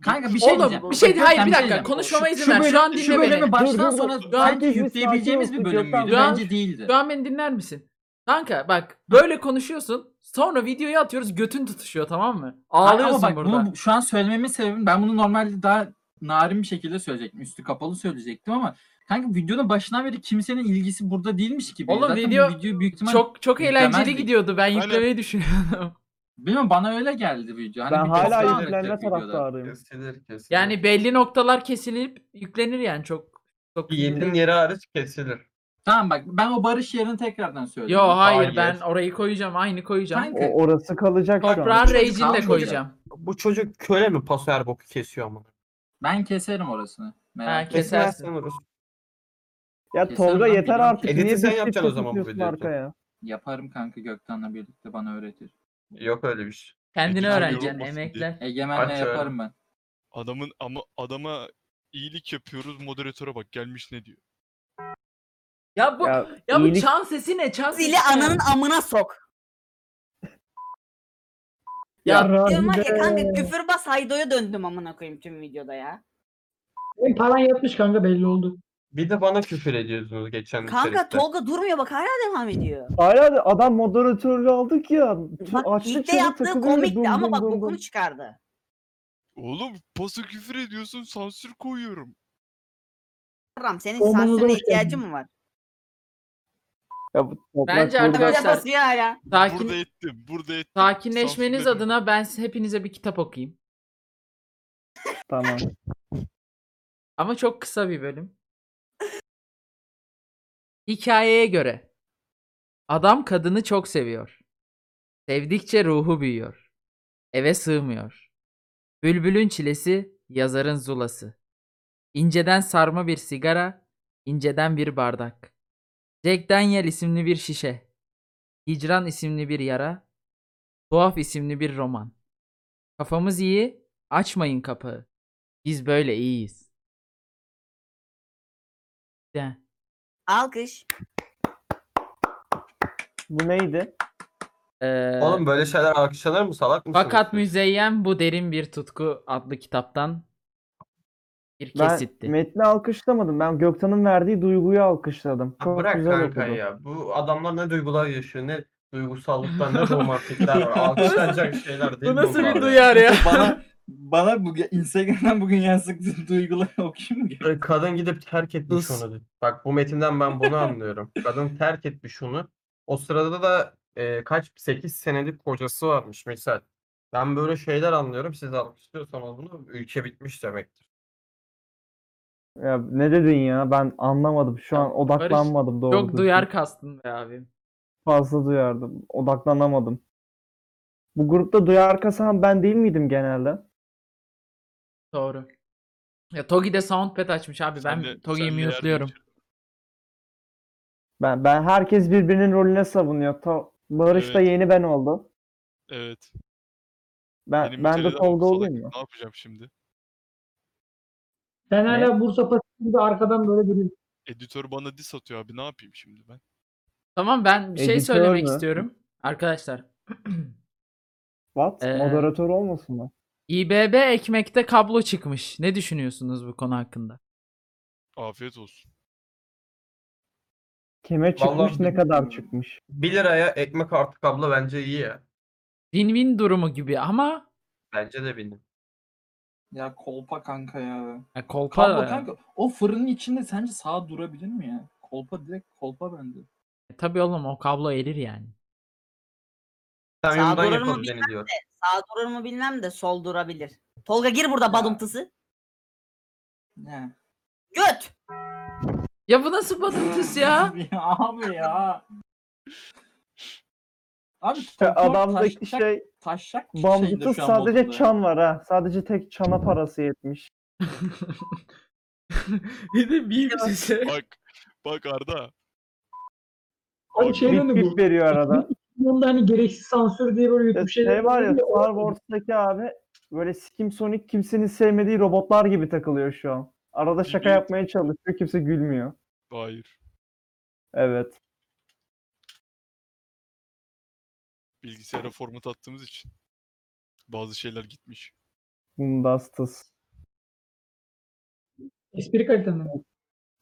G: Kanka bir şey
C: Oğlum,
G: diyeceğim.
C: bir şey-
G: Gökhan,
C: hayır, bir
G: şey
C: dakika,
G: diyeceğim.
C: konuşmama
G: Şu-
C: izin
G: şu
C: ver, şu
G: bölüm-
C: an dinle
G: Şu bölümü
C: beni.
G: baştan
B: Dur, dur,
G: sona
B: dur.
G: belki
B: Herkes bir
G: yükleyebileceğimiz
B: sakin
G: bir
B: olsun, Gökhan.
G: bölüm müydü?
C: Dur.
G: Bence değildi.
C: şu an beni dinler misin? Kanka bak böyle konuşuyorsun sonra videoyu atıyoruz götün tutuşuyor tamam mı?
G: Hayır,
C: Ağlıyorsun
G: ama bak
C: burada.
G: bunu bu- şu an söylememin sebebi ben bunu normalde daha narin bir şekilde söyleyecektim. Üstü kapalı söyleyecektim ama kanka videonun başından beri kimsenin ilgisi burada değilmiş gibi.
C: Oğlum,
G: Zaten bu
C: video
G: video büyük ihtimal
C: Çok çok eğlenceli
G: yüklemezdik.
C: gidiyordu ben
F: Aynen.
C: yüklemeyi düşünüyordum.
G: bilmiyorum bana öyle geldi video. Hani
B: Ben
G: bir
B: hala
G: kafam-
D: Kesinlikle
B: yüklenme
G: videoda.
B: taraftarıyım.
D: Kesilir kesilir.
C: Yani belli noktalar kesilip yüklenir yani çok çok.
D: Yiğit'in yeri hariç kesilir.
G: Tamam bak ben o barış yerini tekrardan söyleyeyim.
C: Yo hayır
D: Hayır.
C: ben orayı koyacağım aynı koyacağım.
G: Kanka,
B: O, orası kalacak şu an.
C: Toprağın
G: Çocuk
C: rage'ini de
G: kalmayacak.
C: koyacağım.
D: Bu çocuk köle mi paso her boku kesiyor ama?
G: Ben keserim orasını.
C: Ha,
G: Merak etme.
C: Kesersin.
D: Kesersin orospu.
B: Ya
G: Kesin
B: Tolga
G: lan,
B: yeter
G: bilmem.
B: artık.
D: Edit'i
B: Niye
D: sen
B: bir
D: yapacaksın o
B: şifre
D: zaman bu
B: tutuyorsun
D: videoyu.
B: arkaya?
G: Yaparım kanka Gökten'le birlikte bana öğretir.
D: Yok öyle bir şey.
C: Kendini
G: Editörü
C: öğreneceksin
F: yorulmasın diye.
C: emekler.
G: Egemenle
D: Aç
G: yaparım ben.
F: Adamın ama adama iyilik yapıyoruz moderatöre bak gelmiş ne diyor.
C: Ya bu
B: Ya,
C: ya bu
B: iyilik-
C: çan sesi ne? Çan sesi
A: Zili
C: ne?
A: ananın amına sok.
C: Ya
A: Diyorum var ya kanka
E: Rabide.
A: küfür bas haydoya döndüm amına koyayım tüm videoda ya.
E: Benim paran yatmış kanka belli oldu.
D: Bir de bana küfür ediyorsunuz geçen
A: Kanka
D: içerikte.
A: Tolga durmuyor bak hala devam ediyor.
B: Hala da adam moderatörlüğü aldık ya.
A: Bak
B: Açlık
A: ilkte yaptığı komikti ama bak bokunu çıkardı.
F: Oğlum paso küfür ediyorsun sansür koyuyorum.
A: Ram senin
E: Olmanıza
A: sansüre
E: hoş
A: ihtiyacın mı var? Tabii
C: Bence Arkadaşlar-
A: basıyor hala.
F: Burada
C: sakin
F: ettim burada ettim.
C: sakinleşmeniz
F: Sansürledim.
C: adına ben size- hepinize bir kitap okuyayım.
B: Tamam.
C: Ama çok kısa bir bölüm. Hikayeye göre adam kadını çok seviyor. Sevdikçe ruhu büyüyor. Eve sığmıyor. Bülbülün çilesi, yazarın zulası. İnceden sarma bir sigara, inceden bir bardak. Jack Daniel isimli bir şişe. Hicran isimli bir yara. Tuhaf isimli bir roman. Kafamız iyi, açmayın kapağı. Biz böyle iyiyiz. De.
A: Alkış.
B: Bu neydi?
C: Ee,
D: Oğlum böyle şeyler alkışlanır mı salak mısın?
C: fakat Müzeyyen bu derin bir tutku adlı kitaptan bir
B: Ben
C: kesitti.
B: metni alkışlamadım. Ben Gökhan'ın verdiği duyguyu alkışladım.
D: Ya
B: Çok
D: bırak
B: güzel
D: kanka
B: okudu.
D: ya. Bu adamlar ne duygular yaşıyor ne duygusallıktan ne romantikler var. Alkışlanacak şeyler değil
C: *laughs* bu nasıl
D: bunlar ya?
C: bir
B: *laughs*
C: duyar ya?
G: bana bana bu Instagram'dan bugün yazdık *laughs* duyguları okuyayım mı?
D: E, Kadın gidip terk etmiş
C: Is-
D: onu. Bak bu metinden ben bunu anlıyorum. Kadın terk etmiş onu. O sırada da e, kaç 8 senelik kocası varmış misal. Ben böyle şeyler anlıyorum. Siz alkışlıyorsanız bunu ülke bitmiş demektir.
B: Ya ne dedin ya? Ben anlamadım. Şu
C: Ya
B: an odaklanmadım doğru.
C: Çok
B: düzgün.
C: duyar kastın be abi.
B: Fazla duyardım. Odaklanamadım. Bu grupta duyar kasan ben değil miydim genelde?
C: Doğru. Ya Togi de soundpad açmış abi. Ben
F: Sen de-
C: Togi'yi
F: sen de
C: mute'luyorum.
B: Ben ben herkes birbirinin rolüne savunuyor. Ta, Barış da
F: Evet.
B: yeni ben oldu.
F: Evet.
B: Ben
F: benim
B: ben de
F: müteleden
B: Tolga
F: salak.
B: olayım mı?
F: Ne yapacağım şimdi?
E: Sen hala Bursa Patik'in gibi arkadan böyle duruyorsun.
F: Editör bana diss atıyor abi ne yapayım şimdi ben?
C: Tamam ben bir şey
B: Editör
C: söylemek
B: mü?
C: istiyorum. Arkadaşlar.
B: What?
C: Ee,
B: Moderatör olmasın mı?
C: İBB ekmekte kablo çıkmış. Ne düşünüyorsunuz bu konu hakkında? *laughs*
F: Afiyet olsun.
B: Kime çıkmış ne kadar
D: bilmiyorum.
B: çıkmış?
D: 1 liraya ekmek artı kablo bence iyi ya.
C: Win-win durumu gibi ama
D: Bence de bildim.
G: Ya kolpa kanka ya.
C: ya kolpa
G: Kolpa kanka o fırının içinde sence sağ durabilir mi ya? Kolpa direkt kolpa bende.
C: E, tabii oğlum o kablo erir yani.
D: Samyum'dan
A: durur mu
D: yapalım
A: bilmem
D: deniliyor.
A: Sağ durur mu bilmem de sol durabilir. Tolga gir burada badımtısı.
G: Ne?
A: Göt.
C: Ya bu nasıl patates ya?
G: *laughs* abi ya. Abi kontrol
B: Adamdaki
G: *laughs* taşacak-
B: şey
G: taşacak bir şeydir
B: bambutu
G: şu an
B: sadece
G: Bodrum'da.
B: çan var ha. Sadece tek çana parası yetmiş.
C: bir de bir şey sesi.
F: Bak. Bak Arda.
E: Hani şey
B: Bip
E: döndü bu.
B: bip veriyor arada.
E: Bunda hani gereksiz sansür diye böyle
B: Ya
E: YouTube şeyler
B: şey var ya
E: döndü
B: Star Wars'taki abi böyle Skim Sonic kimsenin sevmediği robotlar gibi takılıyor şu an. Arada şaka
F: Evet.
B: yapmaya çalışıyor kimse gülmüyor.
F: Hayır.
B: Evet.
F: Bilgisayara format attığımız için. Bazı şeyler gitmiş.
B: Bundastas.
E: Espri kalitenden.
G: şey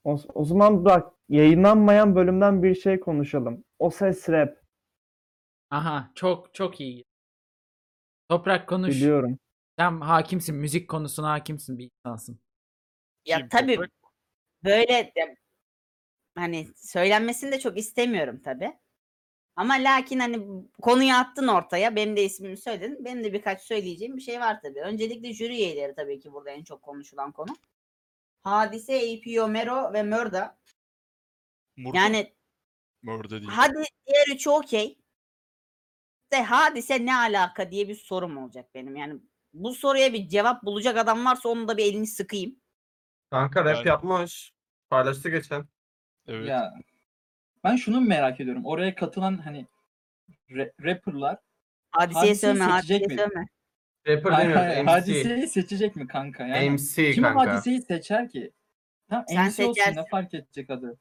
B: O, o zaman bak yayınlanmayan bölümden bir şey konuşalım. O ses rap
C: Aha çok çok iyi. Toprak konuş.
B: biliyorum.
C: Sen hakimsin. Müzik konusuna hakimsin bir insansın.
A: Ya
F: Kim?
A: tabii
F: Toprak-
A: böyle de- hani söylenmesini de çok istemiyorum tabii. Ama lakin hani bu- konuyu attın ortaya. Benim de ismimi söyledin. Benim de birkaç söyleyeceğim bir şey var tabii. Öncelikle jüri üyeleri tabii ki burada en çok konuşulan konu. Hadise, APO, Mero ve Mörda.
F: Murda.
A: Yani
F: Murda değil.
A: hadi diğer üçü okey. De hadise ne alaka diye bir sorum olacak benim. Yani bu soruya bir cevap bulacak adam varsa onun da bir elini sıkayım.
D: Kanka rap
F: Yani-
D: yapmış. Paylaştı geçen.
F: Evet.
G: Ya ben şunu merak ediyorum. Oraya katılan hani ra- rapperlar
A: Hadiseye
G: Hadiseyi
A: sövme,
G: seçecek
A: hadiseye
G: miydi?
A: sövme.
D: Rapper
G: Hayır,
D: demiyoruz.
G: hayır,
D: MC.
G: hadiseyi seçecek mi kanka? Yani
D: MC
G: kim o
D: Şey kanka.
G: hadiseyi seçer ki? Tam
A: Sen
G: MC olsun ne
A: seçersin.
G: fark edecek adı?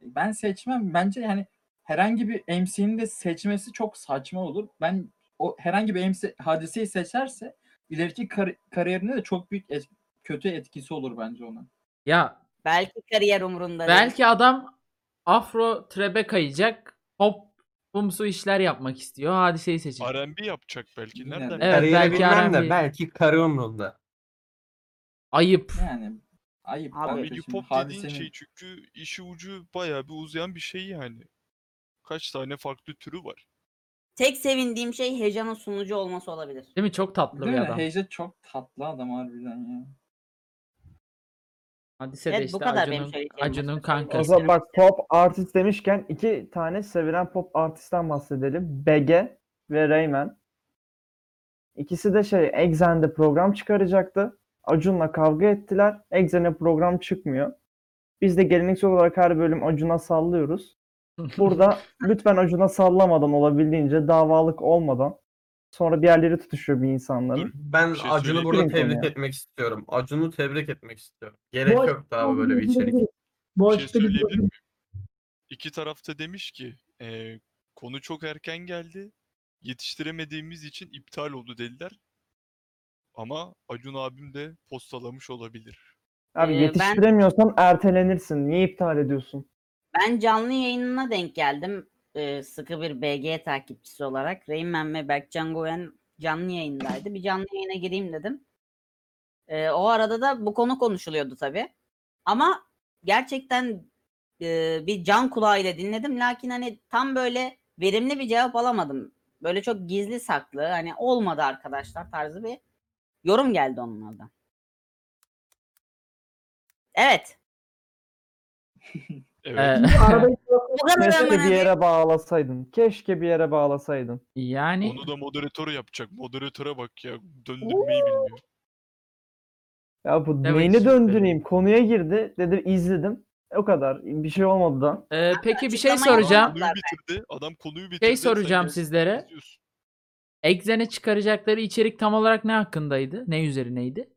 G: Ben seçmem. Bence yani herhangi bir MC'nin de seçmesi çok saçma olur. Ben o herhangi bir MC hadiseyi seçerse ileriki kar- kariyerine de çok büyük et- kötü etkisi olur bence ona.
C: Ya
A: Belki kariyer umurunda değil.
C: belki adam afro trebe kayacak. Hop bumsu işler yapmak istiyor. Hadiseyi seçecek.
F: R&B yapacak belki.
G: Bilmiyorum.
F: Nereden?
G: Evet.
C: Evet
D: Kariyeri
C: belki
D: bilmem
C: R&B.
D: de belki karı umrunda.
C: Ayıp.
G: Yani ayıp.
A: Abi,
G: kanka
A: Evet,
F: Milli
G: şimdi
F: pop dediğin
G: hadisenin-
F: şey çünkü işi ucu bayağı bir uzayan bir şey yani. Kaç tane farklı türü var.
A: Tek sevindiğim şey heyecanın sunucu olması olabilir.
C: Değil mi? Çok tatlı
G: Değil
C: bir
G: mi?
C: adam.
G: Heyce çok tatlı adam harbiden ya.
C: Hadise de
A: Evet, bu
C: işte
A: kadar benim
C: Acun'un,
A: söyleyeceğim şey
C: Acun'un
A: başka.
C: kankası.
B: O zaman bak pop artist demişken iki tane sevilen pop artistten bahsedelim. BG ve Rayman. İkisi de şey Exxen'de program çıkaracaktı. Acun'la kavga ettiler. Exxen'e program çıkmıyor. Biz de geleneksel olarak her bölüm Acun'a sallıyoruz. Burada lütfen Acun'a sallamadan olabildiğince davalık olmadan sonra bir yerleri tutuşuyor bir insanların.
D: Ben
F: Bir şey
D: Acun'u
F: söyleyeyim
D: burada
B: mi
D: tebrik
B: konuya?
D: etmek istiyorum. Acun'u tebrik etmek istiyorum. Gerek
E: Bu
D: yoktu abi böyle bir içerik.
E: Bu
F: Bir şey
E: açıkta bir
F: söyleyebilir miyim? İki tarafta demiş ki "Ee, konu çok erken geldi. Yetiştiremediğimiz için iptal oldu dediler. Ama Acun abim de postalamış olabilir.
B: Abi
A: Ee, ben-
B: yetiştiremiyorsan ertelenirsin. Niye iptal ediyorsun?
A: Ben canlı yayınına denk geldim. Ee, sıkı bir BG takipçisi olarak. Reymen ve Berkcan Güven canlı yayındaydı. Bir canlı yayına gireyim dedim. Ee, o arada da bu konu konuşuluyordu tabii. Ama gerçekten e, bir can kulağıyla dinledim. Lakin hani tam böyle verimli bir cevap alamadım. Böyle çok gizli saklı hani olmadı arkadaşlar tarzı bir yorum geldi onlardan. Evet.
F: Evet.
E: Arabayı
A: Bu kadar
B: Keşke
A: hemen
B: bir yere bağlasaydın. Keşke bir yere bağlasaydın.
C: yani
F: Onu da moderatör yapacak. Moderatöre bak ya. Döndürmeyi bilmiyor.
B: Ya bu
C: Evet,
B: neyini
C: süper.
B: döndüreyim? Konuya girdi. Dedim izledim. E, O kadar. Bir şey olmadı da.
C: e, peki bir şey
A: açıklamayı
C: soracağım.
A: yapamadılar
F: Konuyu bitirdi. Adam konuyu bitirdi.
C: Şey
F: sen
C: soracağım
F: gelip
C: sizlere.
F: izliyorsun.
C: Exxen'e çıkaracakları içerik tam olarak ne hakkındaydı? Ne üzerineydi?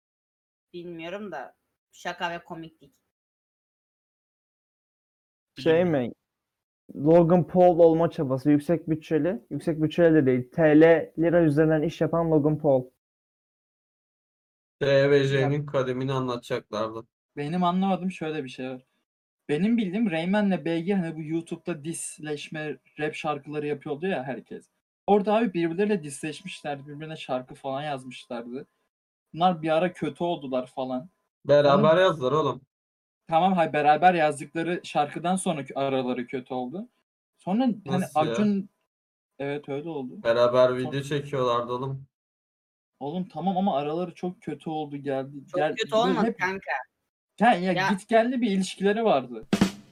C: *laughs*
A: Bilmiyorum da şaka ve komiklik.
B: Şey mi? Logan Paul olma çabası. Yüksek bütçeli. Yüksek bütçeli de değil. TL lira üzerinden iş yapan Logan Paul.
D: TVJ'nin kademini anlatacaklardı.
G: Benim anlamadığım şöyle bir şey var. Benim bildiğim Rayman'le BG hani bu YouTube'da disleşme rap şarkıları yapıyordu ya herkes. Orada abi birbirleriyle disleşmişlerdi. Birbirine şarkı falan yazmışlardı. Bunlar bir ara kötü oldular falan.
D: Beraber yazdılar oğlum.
G: Tamam hay beraber yazdıkları şarkıdan sonraki araları kötü oldu. Sonra hani
D: Nasıl ya?
G: Acun evet öyle oldu.
D: Beraber video çekiyorlardı oğlum.
G: Oğlum tamam ama araları çok kötü oldu geldi.
A: Çok
G: gel-
A: kötü
G: böyle
A: olmadı
G: hep-
A: kanka.
G: Ya, ya,
A: Ya.
G: git geldi bir ilişkileri vardı.
A: Evet.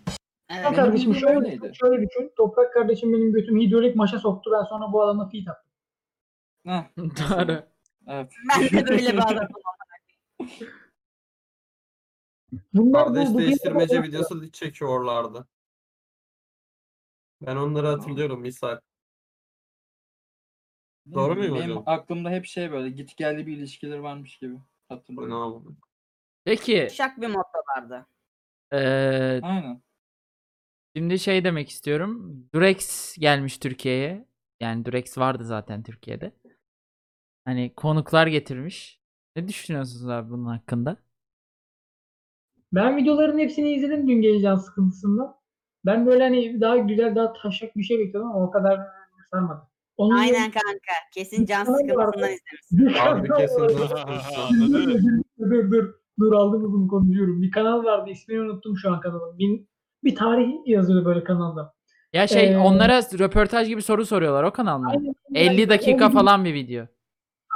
E: Toprak
G: Benim
E: kardeşim
G: bildiğim
E: şöyle,
G: öyleydi.
E: şöyle düşün. Toprak kardeşim benim götümü hidrolik maşa soktu. Ben sonra bu adamla fit attım.
G: Heh,
C: Doğru.
G: evet.
A: Ben de böyle bir adamım.
E: Bunlar bu,
D: Kardeş
E: bu
D: değiştirmece videosu çekiyorlardı. Ben onları hatırlıyorum misal.
G: Ne
D: Doğru
G: bileyim,
D: muyum
G: Benim
D: hocam?
G: aklımda hep şey böyle git geldi bir ilişkileri varmış gibi
D: Bu ne
G: hatırlıyorum.
D: oldu?
C: Peki e,
A: Şak bir motto vardı.
C: eee,
G: Aynen.
C: şimdi şey demek istiyorum. Durex gelmiş Türkiye'ye. Yani Durex vardı zaten Türkiye'de. Hani konuklar getirmiş. Ne düşünüyorsunuz abi bunun hakkında?
E: Ben videoların hepsini izledim dün geleceğin sıkıntısından. Ben böyle hani daha güzel, daha taşak bir şey bekliyordum ama o kadar sarmadı. Onun
A: Aynen kanka. Kesin can
E: Aynen.
A: sıkıntısından izlemişsin.
D: Harbi kesin
E: *laughs* dur,
D: *laughs*
F: Anladın mı?
E: dur, dur, dur aldım bunu konuşuyorum. Bir kanal vardı ismini unuttum şu an kanalın. Bir, bir tarih yazıyordu böyle kanalda.
C: Ya şey
E: Eee,
C: onlara röportaj gibi soru soruyorlar o kanal mı?
E: Aynen,
C: 50 dakika
E: o-
C: falan bir video.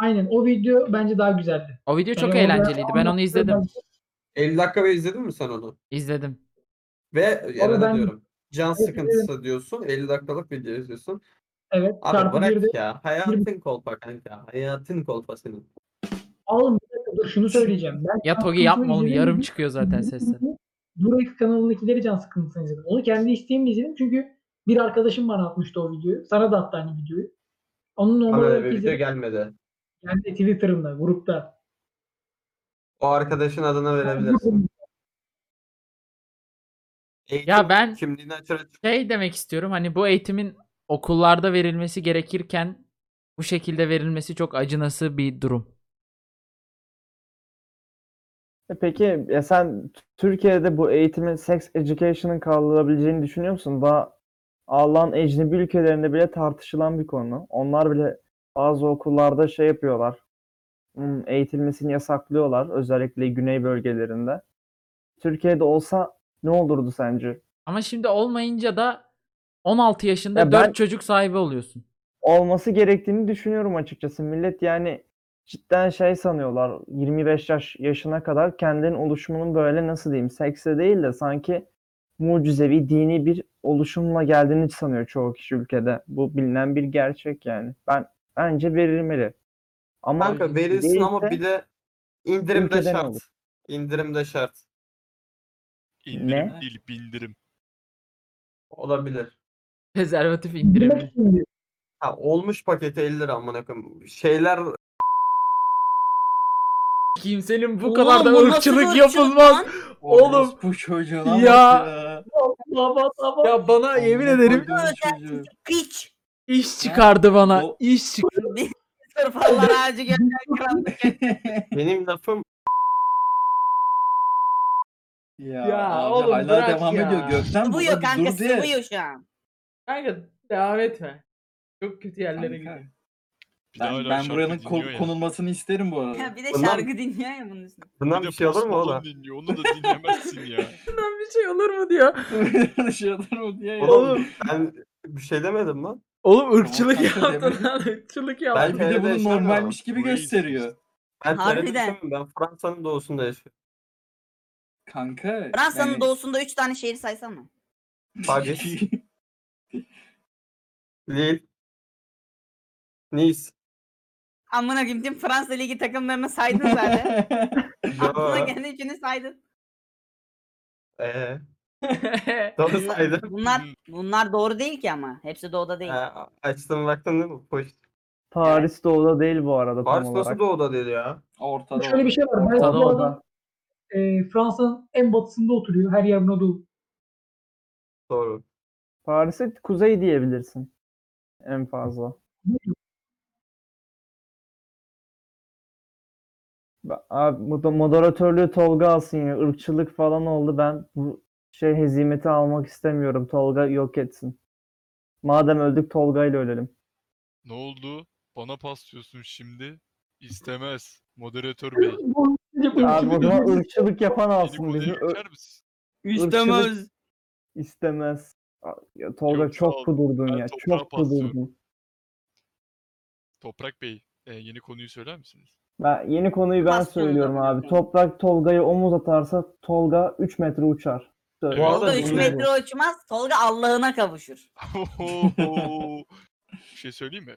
E: Aynen o video bence daha güzeldi.
C: O video çok
E: Yani orada
C: eğlenceliydi. Ben onu
E: anlattığı
C: izledim.
D: 50 dakika ve izledin mi sen onu?
C: İzledim.
D: Ve Eren'e
E: ben-
D: diyorum. Can
E: Evet,
D: sıkıntısı diyorsun. 50 dakikalık video izliyorsun.
E: Evet.
D: Abi
E: çarpı
D: bırak
E: bir de-
D: ya. Hayatın kolpa kanka. Hayatın kolpa senin.
E: Oğlum bir dakika dur şunu söyleyeceğim. Ben
C: Ya
E: Can
C: Togi yapma
E: Sıkıntısı'nı
C: oğlum
E: izledim, *laughs*
C: yarım
E: bir-
C: çıkıyor zaten sesten.
E: Burak kanalındakileri can sıkıntısını izledim. Onu kendi isteğimle izledim çünkü bir arkadaşım bana atmıştı o videoyu. Sana da attı aynı videoyu. Onun normal
D: Ama öyle
E: olarak
D: bir video
E: izledim.
D: gelmedi.
E: Yani Twitter'ımda, grupta.
D: O arkadaşın adını verebilirsin. Eğitim
C: Ya ben-
D: kimliğini açar açık
C: Şey demek istiyorum hani bu eğitimin okullarda verilmesi gerekirken bu şekilde verilmesi çok acınası bir durum.
B: E Peki ya sen T- Türkiye'de bu eğitimin sex education'ın kaldırılabileceğini düşünüyor musun? Daha Allah'ın ecnebi ülkelerinde bile tartışılan bir konu. Onlar bile bazı okullarda şey yapıyorlar. hmm, Eğitilmesini yasaklıyorlar özellikle güney bölgelerinde. Türkiye'de olsa ne olurdu sence?
C: Ama şimdi olmayınca da 16 yaşında
B: Ya
C: 4
B: ben-
C: çocuk sahibi oluyorsun. *laughs*
B: Olması gerektiğini düşünüyorum açıkçası. Millet yani cidden şey sanıyorlar. 25 yaş yaşına kadar kendinin oluşumunun böyle nasıl diyeyim sekse değil de sanki mucizevi dini bir oluşumla geldiğini sanıyor çoğu kişi ülkede. Bu bilinen bir gerçek yani. Ben bence verilmeli. Ama
D: Kanka verilsin ama
B: değilse-
D: bir de indirimde
B: ülkeden
D: şart.
B: olur.
D: İndirimde şart.
F: İndirim
G: Ne?
F: değil, bindirim.
D: Olabilir.
C: Prezervatif indirimi.
D: Ha, olmuş paketi 50 lira amına koyayım. Şeyler
C: Kimsenin bu
A: Oğlum,
C: kadar da
A: bu nasıl
C: ırkçılık
A: ırkçılık
C: yapılmaz.
A: lan?
C: Oğlum.
G: Bu çocuğuna bak
C: Ya.
G: ya.
E: Baba baba.
C: Ya bana yemin
G: Amına
C: ederim
G: koyduğum
A: Özel
G: çocuğu.
A: Piç. *laughs*
C: iş çıkardı bana.
G: O-
C: İş çık. *laughs*
A: Sırf Allah ağacı gönder kral.
D: benim lafım
G: Ya,
C: Ya
G: abi
C: oğlum
G: hala
C: bırak
G: devam
C: ya.
G: ediyor. Gökten
A: Sıvıyor
G: burada bir
A: kanka
G: dur diye.
A: sıvıyor şu an.
C: Kanka devam etme. Çok kötü yerlere
G: Kanka,
C: gidiyor.
F: Bir şey de
G: Ben,
F: hala
G: ben
F: şarkı
G: buranın
F: dinliyor
G: ko-
F: ya.
G: konulmasını isterim bu arada. *laughs*
A: Ya bir de
D: Ulan-
A: şarkı dinliyor ya bunun üstüne.
D: bundan
F: Bir
D: bir
F: de
D: şey olur mu
F: Post
D: oğlum?
F: Malone dinliyor. Onu da
D: *laughs*
F: dinlemezsin ya.
C: Bundan bir şey olur mu *laughs* diyor.
G: Şadır mı diye. ya.
D: Oğlum ben bir şey demedim lan.
C: Oğlum ırkçılık
G: kanka
C: yaptın
G: demek-
C: lan. ırkçılık
G: Abi
D: Ben
C: yaptın.
G: bir de
D: Feride
G: bunu
D: yaşamıyorum.
G: normalmiş gibi
F: Burayı
G: gösteriyor.
D: Ben Feride
A: Harbiden.
D: yaşamıyorum. Ben Fransa'nın doğusunda yaşıyorum.
G: Kanka.
A: Fransa'nın
G: yani-
A: doğusunda 3 tane şehir saysana.
G: *laughs*
D: Paris, Lille, Nice.
A: Amına koyayım tüm Fransa Ligi takımlarını saydın
G: *laughs*
A: zaten. Aklına
D: Yo,
A: gelen üçünü saydın.
D: ee, doğru
A: *laughs* Bunlar,
D: saydım.
A: bunlar, bunlar doğru değil ki ama. Hepsi doğuda değil.
D: Ha, açtım baktım değil mi? Post.
B: Paris doğuda değil bu arada tam
D: Paris
B: olarak.
D: nasıl doğuda dedi ya?
G: Ortada.
E: Şöyle bir şey var. Ben
C: Ortada
E: bu
C: olan.
E: adam e, Fransa'nın en batısında oturuyor. Her yer Anadolu.
D: Doğru.
B: Paris'e kuzey diyebilirsin en fazla. Ba- Abi moda- moderatörlüğü Tolga alsın ya. Irkçılık falan oldu. Ben bu şey hezimeti almak istemiyorum. Tolga yok etsin. Madem öldük Tolga ile ölelim.
F: Ne oldu? Bana paslıyorsun şimdi. İstemez. Moderatör bey.
B: Abi o zaman
F: Beni
B: ırkçılık yapan alsın.
F: konuya
B: Bizim
F: geçer misin?
B: İstemez. istemez. Ya Tolga
F: Yok, sağ
B: çok
F: ol.
B: kudurdun
F: Ben
B: ya.
F: toprağa
B: Çok
F: paslıyorum.
B: kudurdun.
F: Toprak Bey, e, yeni konuyu söyler misiniz? *laughs*
B: Ben, yeni konuyu ben
A: Paslıyorum
B: söylüyorum
A: ben
B: abi.
A: bunu.
B: Toprak Tolga'ya omuz atarsa Tolga 3 metre uçar. Söyle.
D: Bu arada
A: Tolga 3
D: bunu-
A: metre uçmaz. Tolga Allah'ına kavuşur.
F: Ohoho! bir şey söyleyeyim mi?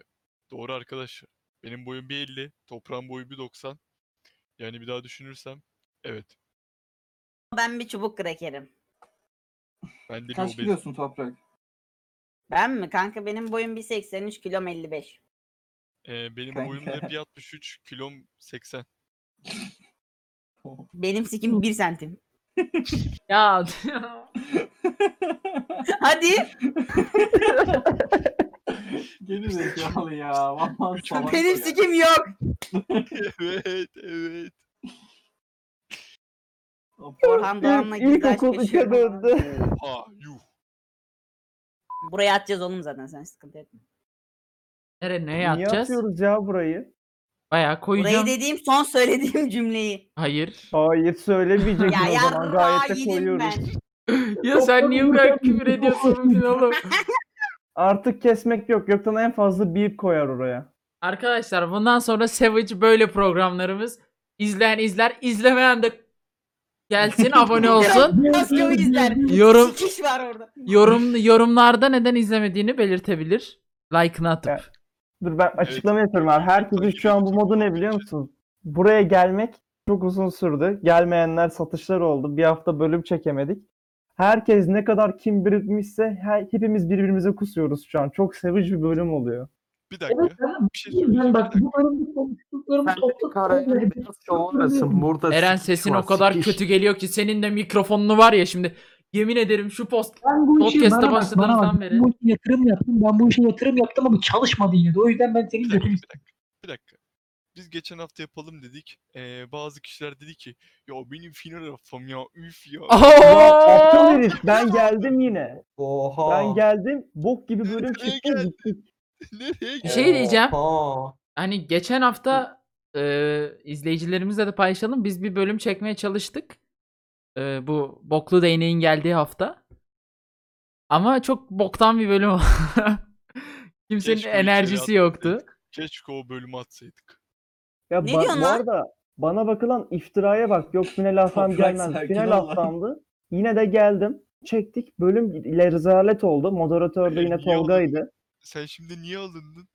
F: Doğru arkadaş. Benim boyum 1.50, toprağın boyu 1.90. Yani bir daha düşünürsem, evet.
A: Ben bir çubuk krekerim.
F: Ben de
C: şey-
F: bir
G: Kaç
F: obez-
G: kilosun toprak?
C: *laughs*
A: Ben mi? Kanka benim boyum 1.83 kilom 55.
F: E, benim
G: Kanka.
F: boyum da 1.63, kilom
G: *laughs*
F: 80.
A: Benim sikim 1 santim. *laughs*
C: Ya *laughs*
A: Hadi
G: Geri zekalı ya. Vallahi salak
A: benim
G: ya.
A: sikim yok.
F: evet, evet.
G: Toprak-
A: Orhan Doğan'la
B: İlk-
A: Gizli Aşk
B: ilkokul üçe
A: yaşıyorum.
B: döndü.
F: Ha, yuh.
A: Buraya atacağız oğlum zaten sen sıkıntı etme.
C: nereye neye
B: Niye
C: atacağız?
B: atıyoruz ya burayı?
C: Bayağı
A: Burayı
C: koyacağım.
A: dediğim son söylediğim cümleyi.
C: Hayır.
B: Hayır söylemeyecektim
A: Ya
B: o zaman.
A: yarrağı
B: Gayet de
A: yedim
B: koyuyoruz.
A: ben.
C: ya sen niye bu kadar küfür ediyorsun bugün oğlum?
B: Artık kesmek yok. Gökten en fazla bir koyar oraya.
C: Arkadaşlar bundan sonra Savage böyle programlarımız. İzleyen izler, izlemeyen de gelsin abone olsun.
A: Nasıl izler?
C: Yorum-
A: Sikiş var orada.
C: Yorum yorumlarda neden izlemediğini belirtebilir. Like'ını atıp.
B: Evet. Dur ben açıklama yapıyorum abi. Herkesin şu an bu modu ne biliyor musun? Buraya gelmek çok uzun sürdü. Gelmeyenler satışlar oldu. Bir hafta bölüm çekemedik. Herkes ne kadar kim birikmişse her, hepimiz birbirimize kusuyoruz şu an. Çok sevici bir bölüm oluyor.
F: Bir dakika.
E: Evet ben
F: Bir şey söyleyeceğim.
E: ben
F: bir
E: bak
F: dakika.
E: bu bölümde konuştuklarımız toplu
C: şey
D: burada
C: Eren
D: sikiş
C: sesin
D: var,
C: o kadar
D: sikiş.
C: kötü geliyor ki senin de mikrofonunu var ya şimdi. Yemin ederim şu post
E: Ben bu işi
C: Podcast'a
E: bana bak, bana
C: başladığımızdan
E: bak.
C: beri.
E: Bu işe yatırım yaptım. Ben bu işe yatırım yaptım ama çalışmadı yine. de. O yüzden ben senin
F: Bir dakika,
C: *laughs*
E: götünü
F: bir dakika, bir dakika. Biz geçen hafta yapalım dedik. Ee, bazı kişiler dedi ki ya benim final haftam ya üf ya.
B: Ya
C: Oho!
B: aptal herif ben geldim yine.
D: Oha.
B: Ben geldim. Bok gibi bölüm
F: Nereye
B: çıktı.
F: geldin?
B: gittik.
F: *laughs* Nereye
C: Bir
F: geldi?
C: şey diyeceğim.
D: Oha.
C: Hani geçen hafta e, izleyicilerimizle de paylaşalım. Biz bir bölüm çekmeye çalıştık. E, bu boklu değneğin geldiği hafta. Ama çok boktan bir bölüm. oldu. *laughs* Kimsenin
F: Keşke
C: enerjisi
F: içeri
C: yoktu.
F: Keşke o bölümü atsaydık.
B: Ya
A: Ne
B: bak,
A: diyorsun
B: bu
A: lan?
B: arada bana bakılan iftiraya bak. Yok final haftam
G: Toprak
B: gelmez.
G: sakin
B: Final
G: ol lan.
B: haftamdı. Yine de geldim. Çektik. Bölüm ile rezalet oldu. Moderatör de
F: Ee,
B: yine
F: niye oldu?
B: Tolga'ydı.
F: Sen şimdi niye alındın?